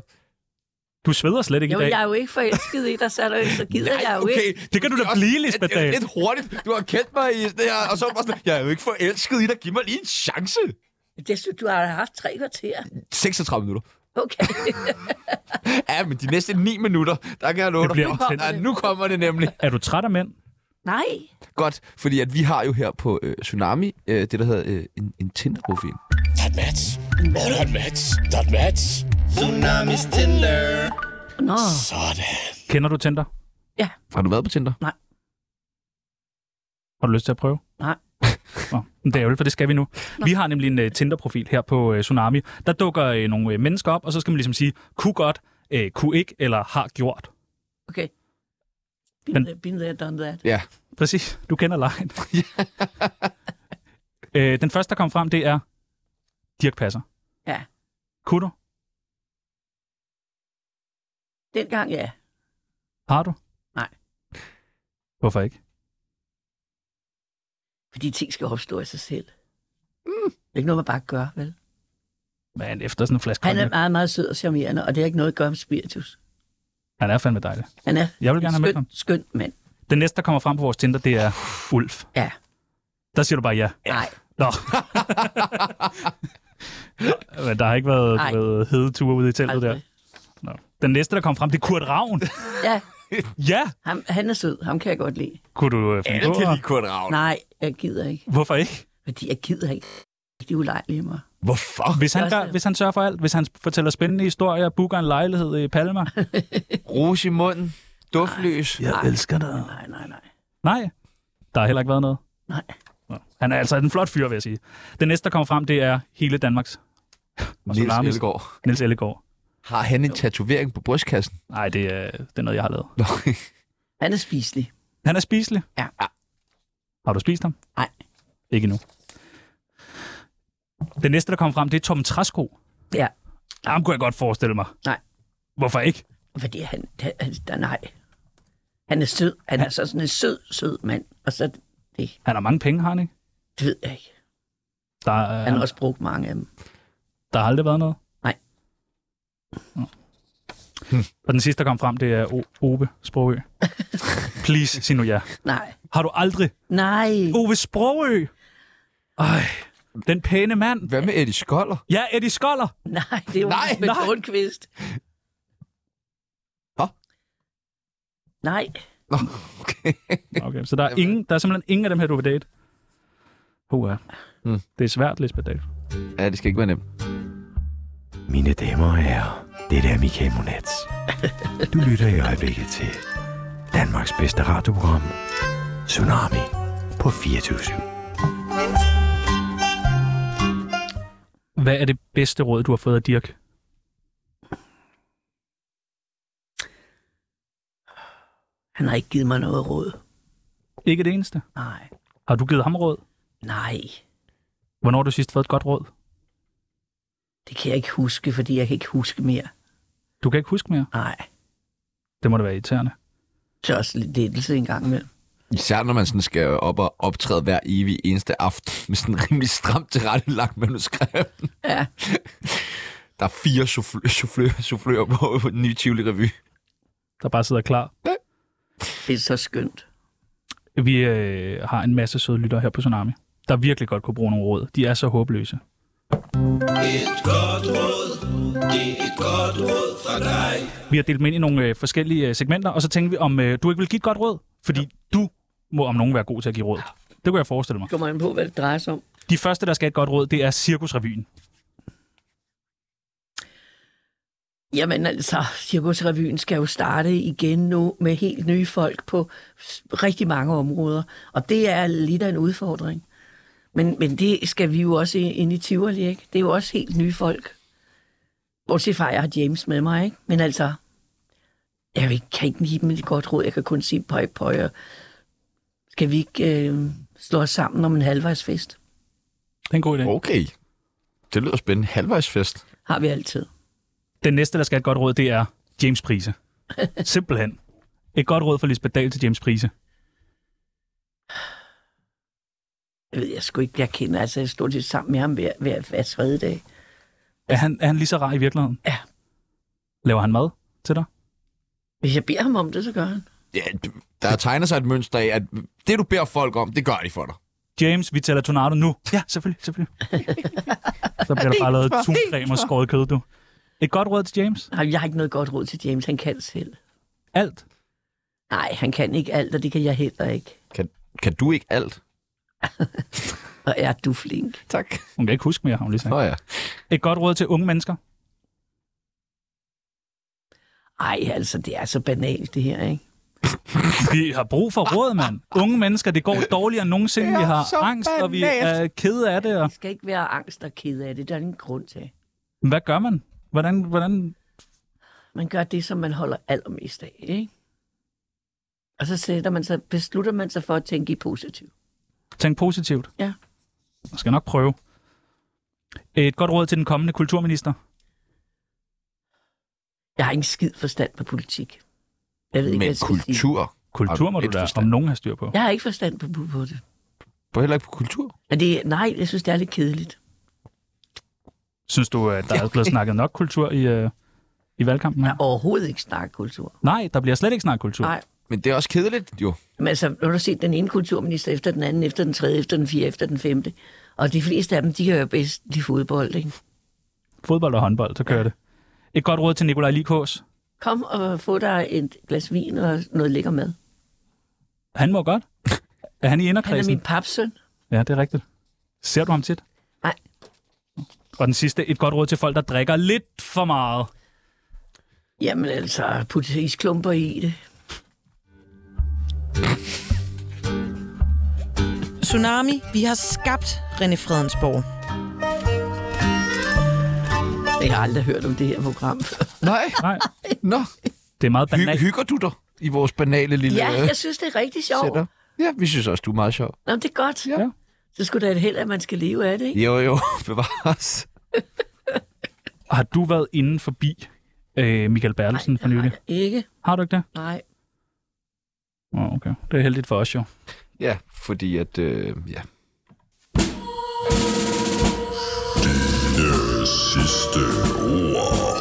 Du sveder slet ikke
Jo,
i dag.
jeg er jo ikke forelsket i dig, så, er der, så gider jeg jo ikke.
Det kan du da blive, Lisbeth Dahl.
Lidt hurtigt. Du har kendt mig i det her, og så er du bare sådan, jeg er jo ikke forelsket i dig. Giv mig lige en chance.
Det synes du har haft tre kvarter.
36 minutter.
Okay.
Ja, men de næste 9 minutter, der kan jeg love
Det
dig.
bliver
Nu
også
kommer,
lidt-
ja, nu kommer det nemlig.
Er du træt af mænd?
Nej,
Godt, fordi at vi har jo her på øh, Tsunami, øh, det der hedder øh, en, en Tinder-profil.
That match. Oh, that match. That match. Tsunamis Tinder.
nå,
Sådan.
Kender du Tinder?
Har du været på Tinder?
Har du lyst til at prøve?
Nej.
Nå, men det er ærgerligt, for det skal vi nu. Vi har nemlig en uh, Tinder-profil her på uh, Tsunami. Der dukker uh, nogle uh, mennesker op, og så skal man ligesom sige, kunne godt, uh, kunne ikke eller har gjort.
okay. Been,
Men-
there, been there, done that.
Ja.
Præcis, du kender lejen. uh, den første, der kom frem, det er Dirk Passer.
Ja.
Kunne du?
Dengang, ja.
Har du?
Nej.
Hvorfor ikke?
Fordi ting skal opstå af sig selv. Mm. Det er ikke noget, man bare gør, vel?
Men efter sådan en flaske
Han er
cognac.
meget, meget sød og charmerende, og det har ikke noget at gøre med spiritus.
Han er fandme dejlig.
Han er
Jeg vil gerne have med ham.
skøn, skøn mand.
Den næste, der kommer frem på vores Tinder, det er Ulf.
Ja.
Der siger du bare ja.
Nej,
Nå. Men der har ikke været,
Ej.
du ved, hede ture ude i teltet der.
aldrig.
Nå. Den næste, der kom frem, det er Kurt Ravn.
Ja,
ja,
ham, han er sød. Ham kan jeg godt lide.
kunne du øh, finde
Alle
på.
kan
at-
lide Kurt Ravn.
Nej, jeg gider ikke.
Hvorfor ikke?
Fordi jeg gider ikke. De er ulejlige mig.
Hvorfor?
Hvis han,
Det er også
gør,
det.
hvis han sørger for alt, hvis han fortæller spændende historier, booker en lejlighed i Palma.
Rouge i munden. Duftløs.
Jeg elsker dig.
Nej, nej, nej.
Nej, der har heller ikke været noget.
Nej.
Nå. Han er altså en flot fyr, vil jeg sige. Den næste, der kommer frem, det er hele Danmarks. Og
Niels
Tsunamis.
Ellegaard.
Niels Ellegaard.
Har han en tatovering på brystkassen?
Nej, det er, det er noget, jeg har lavet.
Nå,
Han er spiselig.
Han er spiselig.
Ja.
Har du spist ham?
Nej.
Ikke nu. Den næste, der kom frem, det er Tom Trasko.
Ja.
Ham kunne jeg godt forestille mig.
Nej.
Hvorfor ikke?
Fordi han, han, han der, nej. Han er sød. Han er så sådan en sød, sød mand. Og så,
Han har mange penge, har han ikke?
det ved jeg ikke.
Der, er,
Han har også brugt mange af dem.
der har aldrig været noget?
Nej.
Nå. Og den sidste, der kom frem, det er o- Ove Sprogø. Please, sig nu ja.
Nej.
Har du aldrig?
Nej.
Ove Sprogø! Ej, den pæne mand.
Hvad med Eddie Skoller?
Ja, Eddie Skoller.
Nej, det er jo
Nej,
med
nej.
Tornqvist.
Hå?
Nej.
Nå, okay.
Okay, så der er, ingen, der er simpelthen ingen af dem her, du vil date? Hoa.
Mm.
Det er svært, Lisbeth Dahl.
Ja, det skal ikke være nemt.
Mine damer og herrer, det er Michael Monats. Du lytter i øjeblikket til Danmarks bedste radioprogram, Tsunami på 24
Hvad er det bedste råd, du har fået af Dirk?
Han har ikke givet mig noget råd.
Ikke det eneste.
Nej.
Har du givet ham råd?
Nej.
Hvornår har du sidst fået et godt råd?
Det kan jeg ikke huske, fordi jeg kan ikke huske mere.
Du kan ikke huske mere.
Nej.
Det må da være irriterende.
Det er også lidt lettelse en gang imellem.
Især når man sådan skal op og optræde hver evig eneste aften med sådan en rimelig stramt tilrettelagt manuskript.
Ja.
Der er fire soufflø- soufflø- soufflører på, på den nye Tivoli Revy.
Der bare sidder klar.
Det er så skønt.
Vi øh, har en masse søde lyttere her på Tsunami, der virkelig godt kunne bruge nogle råd. De er så håbløse.
Et godt råd
det er et godt råd fra dig.
Vi har delt dem ind i nogle øh, forskellige øh, segmenter, og så tænkte vi, om øh, du ikke vil give et godt råd? Fordi du må om nogen være god til at give råd. Det kunne jeg forestille mig.
Kommer an på, hvad det drejer sig om.
De første, der skal have et godt råd, det er Cirkusrevyen.
Jamen altså, Cirkusrevyen skal jo starte igen nu med helt nye folk på s- rigtig mange områder. Og det er lidt af en udfordring. Men, men det skal vi jo også ind i Tivoli, ikke? Det er jo også helt nye folk. Bortset fra, at jeg har James med mig, ikke? Men altså, jeg vil ikke- kan ikke give dem et godt råd. Jeg kan kun sige pøj, pøj. og Skal vi ikke øh, slå os sammen om en halvvejsfest?
Det er en god idé.
Okay. Det lyder spændende. Halvvejsfest.
Har vi altid.
Den næste, der skal have et godt råd, det er James Prise. Simpelthen. Et godt råd fra Lisbeth Dahl til James Prise.
Jeg ved jeg sgu ikke, jeg kender. Altså, jeg stod lidt sammen med ham hver, hver, hver tredje dag.
Er han, er han lige så rar i virkeligheden?
Ja.
Laver han mad til dig?
Hvis jeg beder ham om det, så gør han.
Ja, d- der tegner sig et mønster af, at det, du beder folk om, det gør de for dig.
James, vi tæller tornado nu. Ja, selvfølgelig, selvfølgelig. Så bliver der bare lavet
Helt fra-
tuncreme og skåret kød, du. Et godt råd til James?
Nej, jeg har ikke noget godt råd til James. Han kan selv.
Alt?
Nej, han kan ikke alt, og det kan jeg heller ikke.
Kan, kan du ikke alt?
Og er du flink.
Tak.
Hun kan ikke huske mere, har hun lige sagt.
Nå ja.
Et godt råd til unge mennesker?
Ej, altså, det er så banalt, det her, ikke?
Vi har brug for råd, mand. Unge mennesker, det går dårligere end nogensinde.
Det er
Vi har
så
angst, og vi
banalt.
er kede af det. Og...
Det skal ikke være angst og ked af det. Der er ingen grund til.
Hvad gør man? Hvordan, hvordan...
Man gør det, som man holder allermest af, ikke? Og så sætter man sig, beslutter man sig for at tænke i positivt.
Tænk positivt.
Ja.
Jeg skal nok prøve. Et godt råd til den kommende kulturminister.
Jeg har ingen skid forstand på politik. Jeg ved
Men
ikke, hvad jeg skal
kultur har du
Kultur må du
lidt
da,
forstand
om nogen har styr på.
Sige. Jeg har ikke forstand på, på, på det.
På heller ikke på kultur.
Men det. Nej, jeg synes, det er lidt kedeligt.
Synes du, at der er blevet snakket nok kultur i, øh, i valgkampen? Her?
Overhovedet ikke snakke kultur.
Nej, der bliver slet ikke snakket kultur.
Nej.
Men det er også kedeligt, jo.
Men altså, nu har du set den ene kulturminister efter den anden, efter den tredje, efter den fjerde, efter den femte. Og de fleste af dem, de kan jo bedst de fodbold, ikke?
Fodbold og håndbold, så kører det. Et godt råd til Nikolaj Likås.
Kom og få dig et glas vin og noget lækker mad.
Han må godt. Er han i
Han er
inderkredsen?
min papsøn.
Ja, det er rigtigt. Ser du ham tit?
Nej.
Og den sidste, et godt råd til folk, der drikker lidt for meget.
Jamen altså, put isklumper i det.
Tsunami, vi har skabt René Fredensborg.
Jeg har aldrig hørt om det her program.
Nej.
Nej.
Nå.
Det er meget
banalt. Hy- hygger du dig i vores banale lille
Ja,
øh,
jeg synes, det er rigtig sjovt.
setup? Ja, vi synes også, du er meget sjov.
Nå, men det er godt.
Ja.
Så skulle da et held, at man skal leve af det, ikke?
Jo, jo, bevares.
Og har du været inde forbi øh, Michael Bertelsen for nylig?
Ikke?
Har du ikke det?
Nej.
Oh, okay. Det er heldigt for os jo.
Ja, fordi at, øh, ja.
Det sidste ord.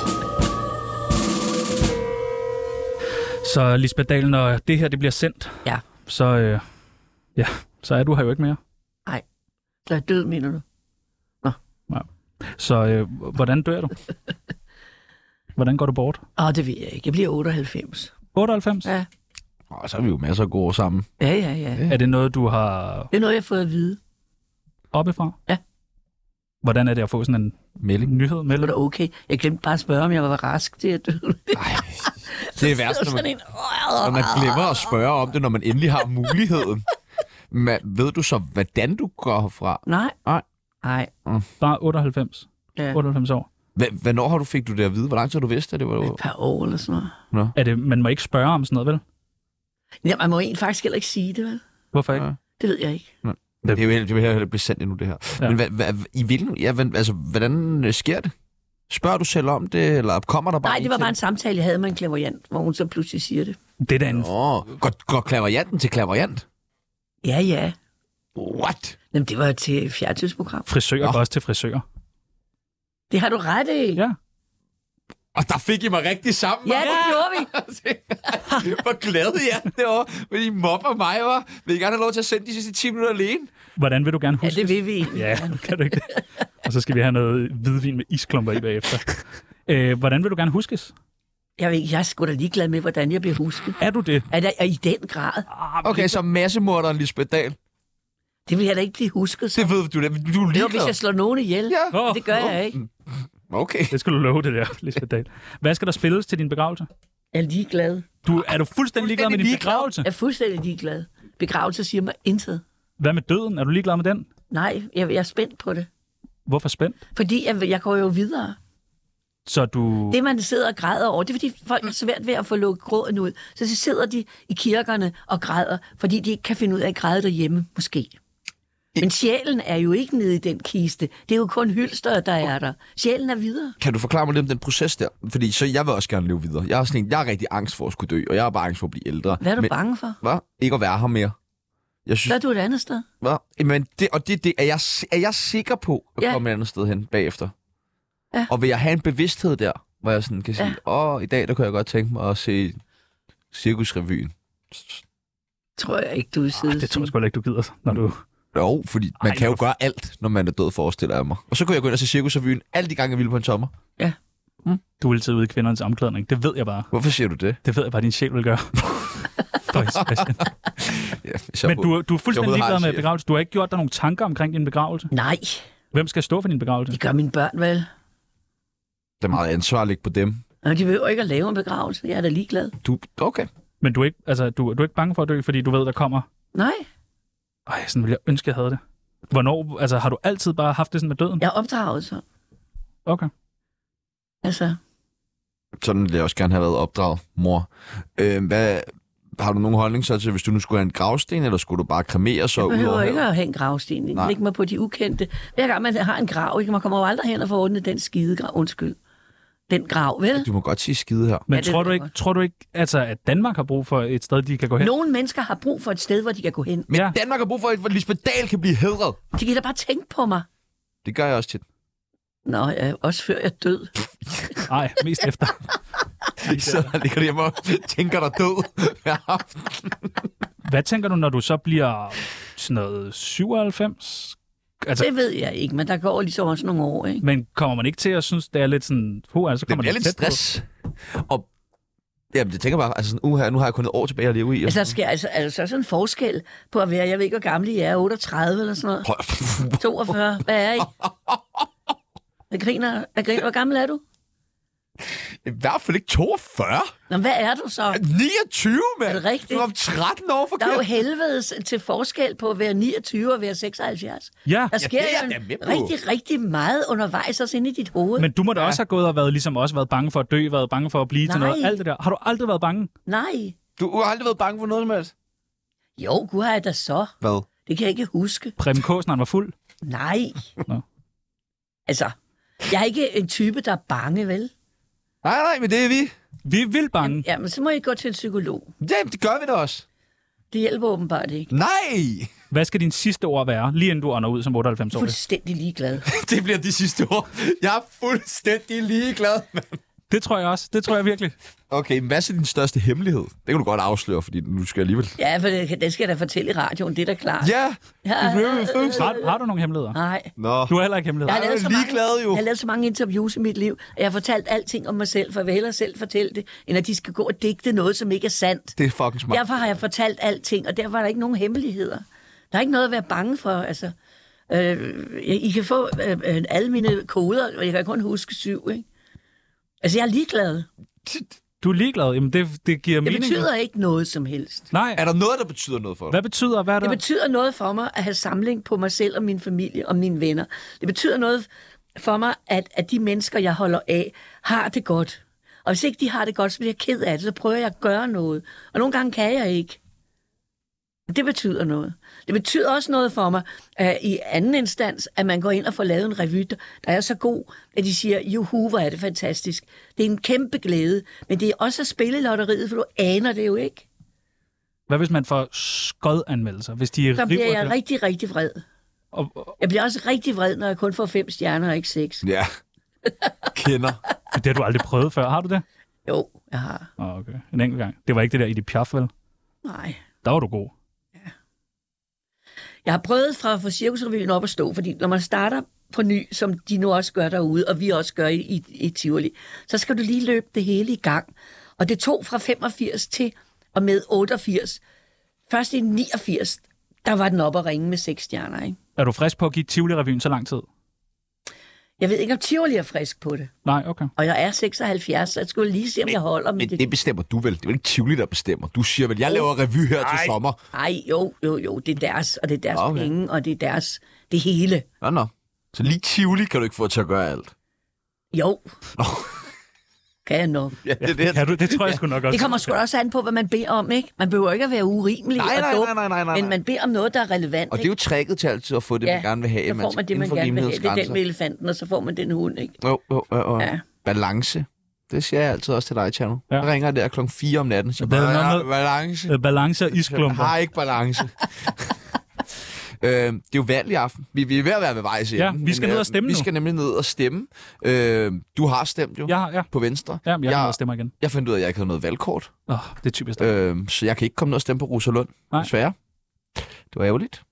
Så Lisbeth Dahl, når det her det bliver sendt,
Ja.
så, øh, ja, så er du her jo ikke mere.
Nej. Så er jeg død, mener du?
Så øh, hvordan dør du? Hvordan går du bort?
Åh, det ved jeg ikke. Jeg bliver 98.
98?
Ja.
Og så er vi jo masser af gode år sammen.
Ja, ja, ja.
Er det noget, du har
Det er noget, jeg har fået at vide.
oppefra?
Ja.
Hvordan er det at få sådan en
melding?
nyhed?
Det var
Melding?
da okay. Jeg glemte bare at spørge, om jeg var rask til at dø.
Det er værst, når man,
sådan en...
når man glemmer at spørge om det, når man endelig har muligheden. Men ved du så, hvordan du går herfra?
Nej.
Nej.
Nej.
Bare 98?
Ja.
98 år?
Hva- Hvornår har du fik du det at vide? Hvor lang tid har du vidst, at det var... Et
par år eller sådan noget.
Nå.
Er det, man må ikke spørge om sådan noget, vel?
Ja, man må egentlig faktisk heller ikke sige det, vel?
Hvorfor ikke? Ja.
Det ved jeg ikke.
Nå. Det er jo helt- det vil heller blive sendt endnu, det her. Ja. Men hvad, hvad, i hvilken, ja, hvad, altså, hvordan øh, sker det? Spørger du selv om det, eller kommer der bare
Nej,
en
det var
til
bare en samtale, jeg havde med en klaverjant, hvor hun så pludselig siger det.
Det er da en...
Åh, går, går klaverianten til klaveriant?
Ja, ja.
What?
Jamen, det var til et fjernsynsprogram.
Frisører går også til frisører.
Det har du ret i.
Ja.
Og der fik I mig rigtig sammen.
Ja,
hva'?
det gjorde vi.
Hvor glade jeg er derovre, fordi I mobber mig, var. Vil I gerne have lov til at sende de sidste 10 minutter alene?
Hvordan vil du gerne
Ja,
huske?
det vil vi. egentlig.
Ja, kan du ikke det? og så skal vi have noget hvidvin med isklumper i bagefter. Øh, hvordan vil du gerne huskes?
Jeg, ved, ikke, jeg er sgu da ligeglad med, hvordan jeg bliver husket.
Er du det?
Er, der, er i den grad.
Okay, så massemorderen Lisbeth Dahl.
Det vil jeg da ikke blive husket.
Det ved du da. Du er
Det er,
ligeglad.
hvis jeg slår nogen ihjel.
Ja.
Men Det gør jeg ikke.
Okay.
Det skal du love det der, Lisbeth Dahl. Hvad skal der spilles til din begravelse?
Jeg er ligeglad.
Du, er du fuldstændig ligeglad med din begravelse?
Jeg er fuldstændig ligeglad. Begravelse siger mig intet.
Hvad med døden? Er du ligeglad med den?
Nej, jeg, jeg er spændt på det.
Hvorfor spændt?
Fordi jeg, jeg går jo videre.
Så du...
Det, man sidder og græder over, det er, fordi folk er svært ved at få lukket gråden ud. Så, så sidder de i kirkerne og græder, fordi de ikke kan finde ud af at græde derhjemme, måske. Men sjælen er jo ikke nede i den kiste. Det er jo kun hylster, der er der. Sjælen er videre.
Kan du forklare mig lidt om den proces der? Fordi så jeg vil også gerne leve videre. Jeg er, sådan en, jeg er rigtig angst for at skulle dø, og jeg er bare angst for at blive ældre.
Hvad er du bange for?
Hvad? Ikke at være her mere. Jeg synes,
Så er du et andet sted.
hvad? Men det, og det, det er, jeg, si- er jeg sikker på at
Ja.
komme et andet sted hen bagefter.
Ja.
Og vil jeg have en bevidsthed der, hvor jeg sådan kan sige,
Ja.
åh, i dag der kunne jeg godt tænke mig at se Cirkusrevyen.
Tror jeg ikke, du vil sidde
Det tror jeg sgu heller ikke, du gider, når du...
Jo, fordi man
Ej,
kan jo
hvor-
gøre alt, når man er død, forestiller jeg mig. Og så kunne jeg gå ind og se Cirkusrevyen alle de gange, jeg ville på en sommer.
Du er altid ude i kvindernes omklædning. Det ved jeg bare.
Hvorfor siger du det?
Det ved jeg bare, din sjæl vil gøre. For Sebastian.
Ja, hvis jeg
Men du,
overhovedet-
du er
hvis jeg
fuldstændig
overhovedet har
ligeglad
en
med
chef.
begravelse. Du har ikke gjort dig nogen tanker omkring din begravelse.
Nej,
Hvem skal stå for din begravelse?
det gør mine børn vel.
Det er meget ansvar at ligge på dem.
Og de behøver ikke at lave en begravelse. Jeg er da ligeglad.
Du, okay.
Men du er, ikke, altså, du, du er ikke bange for at dø, fordi du ved, der kommer...
Nej,
Ej, sådan ville jeg ønske, jeg havde det. Hvornår, altså har du altid bare haft det sådan med døden?
jeg er opdraget så.
Okay.
Altså,
Sådan ville jeg også gerne have været opdraget, mor. Øh, hvad, har du nogen holdning så til, hvis du nu skulle have en gravsten, eller skulle du bare kremere så
jeg
ud
behøver
over
ikke
havet?
at have en gravsten.
Nej.
Nej. Læg mig på de ukendte. Hver gang man har en grav, ikke? man kommer jo aldrig hen og får ordnet den skide grav. Undskyld. Den grav, vel?
Du må godt sige skide her.
Men
Ja, det
tror,
ved
du
jeg
ikke,
godt.
tror du ikke, altså, at Danmark har brug for et sted, de kan gå hen?
Nogle mennesker har brug for et sted, hvor de kan gå hen.
Men
Ja.
ja. Danmark har brug for et, hvor Lisbeth Dahl kan blive hedret.
De kan da bare tænke på mig.
Det gør jeg også tit.
Nå, ja, også før jeg er død.
Nej, mest efter.
I sidder og ligger hjemme og tænker dig død hver aften.
Hvad tænker du, når du så bliver sådan noget 97? Altså,
Det ved jeg ikke, men der går ligesom også nogle år, ikke?
men kommer man ikke til at synes, det er lidt sådan... Puh, altså, så
Det
kommer
bliver lidt
tæt på.
stress. Og Jamen, det tænker jeg bare, altså sådan, uha, nu har jeg kun et år tilbage at leve i. og
Altså, der
sådan-
sker altså, altså sådan en forskel på at være, jeg ved ikke, hvor gammel I er, 38 eller sådan noget,
Prøv at-
42, hvad er I? Jeg griner, jeg griner, hvor gammel er du?
I hvert fald ikke 42.
Nå, men hvad er du så?
29, mand.
Er det rigtigt?
Du er om 13 år
Der er jo
forkert.
helvedes til forskel på at være 29 og være 76.
Ja,
Der sker
det er
jo
jeg da med på.
rigtig, rigtig meget undervejs også inde i dit hoved. Men...
men du må da også have gået og været, ligesom også været bange for at dø, været bange for at blive Nej. til
Nej.
noget. Alt det der. Har du aldrig været bange?
Nej.
Du har aldrig været bange for noget som helst.
Jo, gud har jeg da så.
Hvad?
Det kan jeg ikke huske.
Preben Kåsen, han var fuld.
Nej.
Nå.
Altså, jeg er ikke en type, der er bange, vel?
Nej, nej, men det er vi.
Vi er vildt bange.
Ja, men så må jeg gå til en psykolog.
Ja, det gør vi da også.
Det hjælper åbenbart ikke.
Nej!
Hvad skal din sidste ord være, lige inden du ånder ud som 98 år?
Fuldstændig ligeglad.
Det bliver de sidste år. Jeg er fuldstændig ligeglad.
Det tror jeg også. Det tror jeg virkelig.
Okay, men hvad er så din største hemmelighed? Det kan du godt afsløre, fordi nu skal jeg alligevel...
Ja, for det, det skal jeg da fortælle i radioen, det er da klart.
Ja! Du blev jo født.
Har, har du nogle hemmeligheder?
Nej.
Nå.
Du har heller ikke hemmeligheder.
Jeg har,
er
lavet
jo
så mange,
ligeglad jo.
jeg har lavet så mange interviews i mit liv, at jeg har fortalt alting om mig selv, for jeg vil hellere selv fortælle det, end at de skal gå og digte noget, som ikke er sandt.
Det er fucking smart.
Derfor har jeg fortalt alting, og derfor er der ikke nogen hemmeligheder. Der er ikke noget at være bange for. Altså, øh, I kan få øh, øh, alle mine koder, og jeg kan kun huske syv. Ikke? Altså, jeg er ligeglad.
Du er ligeglad. Jamen, det, det giver
Det
mening.
betyder ikke noget som helst.
Nej.
Er der noget, der betyder noget for dig?
Hvad betyder, hvad er der?
Det betyder noget for mig at have samling på mig selv og min familie og mine venner. Det betyder noget for mig, at, at de mennesker, jeg holder af, har det godt. Og hvis ikke de har det godt, så bliver jeg ked af det, så prøver jeg at gøre noget. Og nogle gange kan jeg ikke. Det betyder noget. Det betyder også noget for mig uh, i anden instans, at man går ind og får lavet en revy, der der er så god, at de siger, juhu, hvor er det fantastisk. Det er en kæmpe glæde, men det er også at spille lotteriet, for du aner det jo ikke.
Hvad hvis man får skodanmeldelser? Hvis de
Så bliver
river
jeg
det?
rigtig, rigtig vred.
Og, og,
Jeg bliver også rigtig vred, når jeg kun får fem stjerner og ikke seks.
Ja. Kender.
det har du aldrig prøvet før. Har du det?
Jo, jeg har.
Åh, okay. En enkelt gang. Det var ikke det der Edith Piaf, vel?
Nej.
Der var du god.
Jeg har prøvet fra at få cirkusrevyen op at stå, fordi når man starter på ny, som de nu også gør derude, og vi også gør i, i, i Tivoli, så skal du lige løbe det hele i gang. Og det tog fra 85 til og med 88. Først i 89, der var den oppe at ringe med seks stjerner, ikke?
Er du frisk på at give Tivoli-revyen så lang tid?
Jeg ved ikke, om Tivoli er frisk på det.
Nej, okay.
Og jeg er 76, så jeg skulle lige se, om jeg holder med
Men det bestemmer du vel? Det er vel ikke Tivoli, der bestemmer. Du siger vel, jeg laver revy her til sommer.
Nej, jo, jo, jo, det er deres, og det er deres okay. penge, og det er deres, det hele.
Nå, nå. Så lige Tivoli kan du ikke få til at gøre alt.
Jo. Nå. Kan jeg nok.
Ja, det, er det.
Kan du, det tror jeg sgu nok også.
Det kommer sgu da også an på, hvad man beder om, ikke? Man behøver ikke at være urimelig
Nej, nej,
og dum,
nej, nej, nej, nej, nej.
men man beder om noget, der er relevant.
Og det er jo tricket til altid at få det, ja, man gerne vil have.
så får man det, man
inden for
gerne vil have. Det er den
rimelighedsgrænser.
med elefanten, og så får man den hund, ikke?
Jo, jo, jo, jo.
Ja.
Ja. Balance. Det siger jeg altid også til dig, Tjerno. Ja. Jeg ringer der klokken 4 om natten. Så
Der er
jeg
noget
har
med-
balance.
Øh, Balance og
Jeg
isklumper.
har ikke balance. Øh, det er jo valg i aften. Vi, vi er ved at være ved vejs
Ja,
ende,
vi skal
men,
ned
øh,
og stemme
Vi
nu.
skal nemlig ned og stemme. Øh, du har stemt jo
ja, ja.
på Venstre.
Ja, men jeg, jeg stemmer igen.
Jeg fandt ud af, at jeg ikke havde noget valgkort,
Åh, oh, det er typisk dig.
øh, så jeg kan ikke komme ned og stemme på Rosalund,
Nej.
desværre. Det var ærgerligt.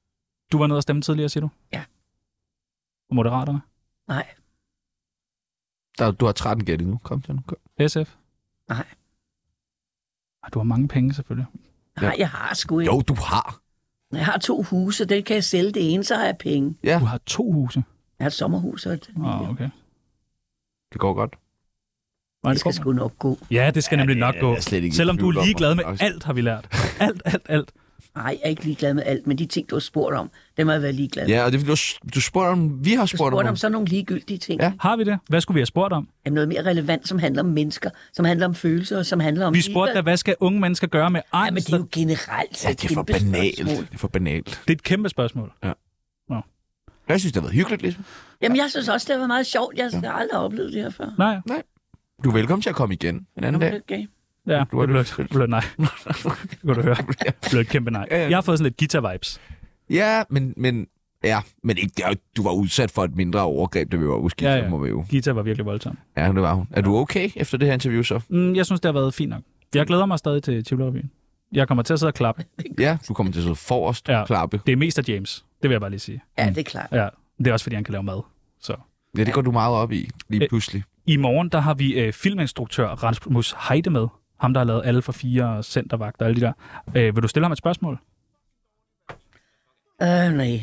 Du var nede og stemme tidligere, siger du?
Ja.
Og Moderaterne?
Nej,
Der, du har 13 gæt nu. Kom, Tjerno. Kom.
SF?
Nej.
Ej, Du har mange penge, selvfølgelig.
nej, jeg har sgu ikke.
Jo, du har.
Jeg har to huse, den kan jeg sælge det ene, så har jeg penge.
Ja.
Du har to huse.
Jeg har et sommerhus og et...
Åh, oh, okay.
Det går godt.
Nej,
det skal sgu nok gå.
Ja, det skal nemlig nok
det er
gå.
jeg slet ikke i
Selvom du
tvivl
er
om,
ligeglad med
Rasmus.
alt, har vi lært. Alt, alt, alt.
Nej, jeg er ikke ligeglad med alt, men de ting, du har spurgt om, dem har jeg været ligeglad med.
Ja, og det er, fordi, du, du spurgte om, vi har
Du
spurgt,
spurgte
om,
om sådan nogle ligegyldige ting.
Ja.
Har vi det? Hvad skulle vi have spurgt om?
Jamen, noget mere relevant, som handler om mennesker, som handler om følelser, og som handler om...
Vi spurgte dig, hvad skal unge mennesker gøre med
Ja, men
angst?
det er jo generelt
Ja, det er for
et kæmpe spørgsmål.
banalt. Det er for banalt.
det er et kæmpe spørgsmål.
Jeg synes, det har været hyggeligt, ligesom.
Jamen, jeg synes også, det var meget sjovt. Jeg har aldrig oplevet det her før.
Nej,
Du er velkommen til at komme igen en anden dag.
Okay.
ja,
Du har
det blev,
lyst
det blev et nej. Det kunne du høre. Det blev et kæmpe nej.
Ja, ja.
Jeg har fået sådan lidt guitar-vibes.
Ja, men, men, ja, men ikke, ja, du var udsat for et mindre overgreb, da vi var uskidt,
Ja,
ja,
ja.
ja. må vi jo.
Guitar var virkelig voldsom.
Ja, det var hun. Er du okay efter det her interview så?
Mm, jeg synes, det har været fint nok.
Mm.
Jeg glæder mig stadig til Tivoli-revyen. Jeg kommer til at sidde og klappe.
Ja, du kommer til at sidde forrest
Ja.
ja. klappe.
Det er mest af James. Det vil jeg bare lige sige. Mm.
Ja, det er klart.
Ja, det er også, fordi han kan lave mad. Så.
Ja, det går du meget op i, lige
Øh.
pludselig.
I morgen, der har vi øh, filminstruktør Rasmus Heide med. Ham, der har lavet alle for fire og centervagt og alle de der. Øh, vil du stille ham et spørgsmål?
Øh, nej.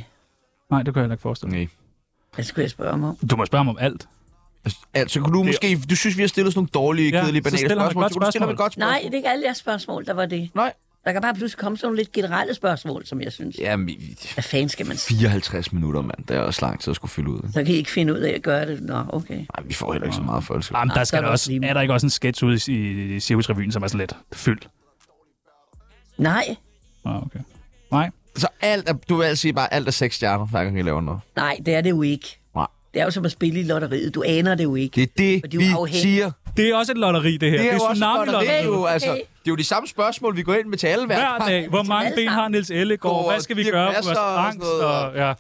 Nej, det kan jeg heller ikke forestille mig.
Nej.
Hvad skulle jeg spørge mig om?
Du må spørge ham om alt.
Altså, kunne du måske... Du synes, vi har stillet sådan nogle dårlige,
Ja,
ja, kedelige,
så
banale
stiller man et
spørgsmål.
godt
Så kunne du stille ham et
spørgsmål.
godt spørgsmål.
Nej, det er ikke alle jeres spørgsmål, der var det.
Nej.
Der kan bare pludselig komme sådan nogle lidt generelle spørgsmål, som jeg synes.
Jamen, i-
Hvad fanden skal man sige?
54 minutter, mand. Det er også lang tid at skulle fylde ud.
Så kan I ikke finde ud af at gøre det. Nå, okay.
Nej, vi får heller ikke så meget for det. skal vi.
Jamen, der
Nej,
skal
så er
der
det
også,
også lige-
er der ikke også en sketch ude i, i Cirkusrevyen, som er sådan lidt fyldt?
Nej,
Ah, okay. Nej,
Så alt er, du vil altså sige bare, alt er seks stjerner, hver gang I laver noget.
nej, det er det jo ikke.
Nej.
Det er jo som at spille i lotteriet. Du aner det jo ikke.
Det er det,
Og de er jo
vi
afhængige.
siger.
det er også et lotteri, det her.
Det er jo også godt, og det er
tsunami-lotteriet.
jo, altså, det er jo de samme spørgsmål, vi går ind med til alle hver,
Hver dag. Hvor mange ben har Niels Ellegaard?
Går
Hvad skal vi
Dirch
gøre for
Passer
vores
og
angst?
sådan noget,
Og, ja.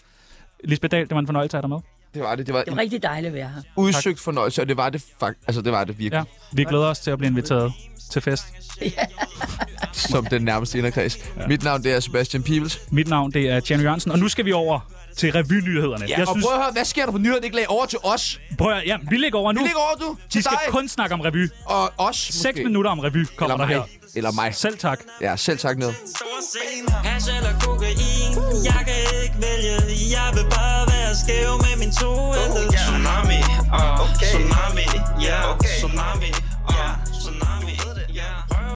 Lisbeth Dahl, det var en fornøjelse at have dig med.
Det var det. Det var
Det
en
var rigtig dejligt at være her.
udsøgt fornøjelse, og det var det, fakt altså, det, var det virkelig,
Ja, vi glæder os til at blive inviteret til fest.
ja. som den nærmeste inderkreds. Ja. Mit navn det er Sebastian Pibels.
Mit navn, det er Tjerno Jørgensen, og nu skal vi over til revynyhederne.
Ja, og prøv at høre, hvad sker der på nyhederne? Det lægger over til os.
prøv at, ja, vi ligger over nu.
Vi ligger over, du.
De
Til
skal
dig.
kun snakke om revy.
Og os, måske.
6 minutter om revy kommer
Eller
der her.
mig. Eller mig.
Selv tak.
Ja, selv tak ned.
Hash eller kokain Jeg kan ikke vælge Jeg vil bare være skæv med min toældede
Tsunami, ah,
Okay.
tsunami, ja,
Okay.
tsunami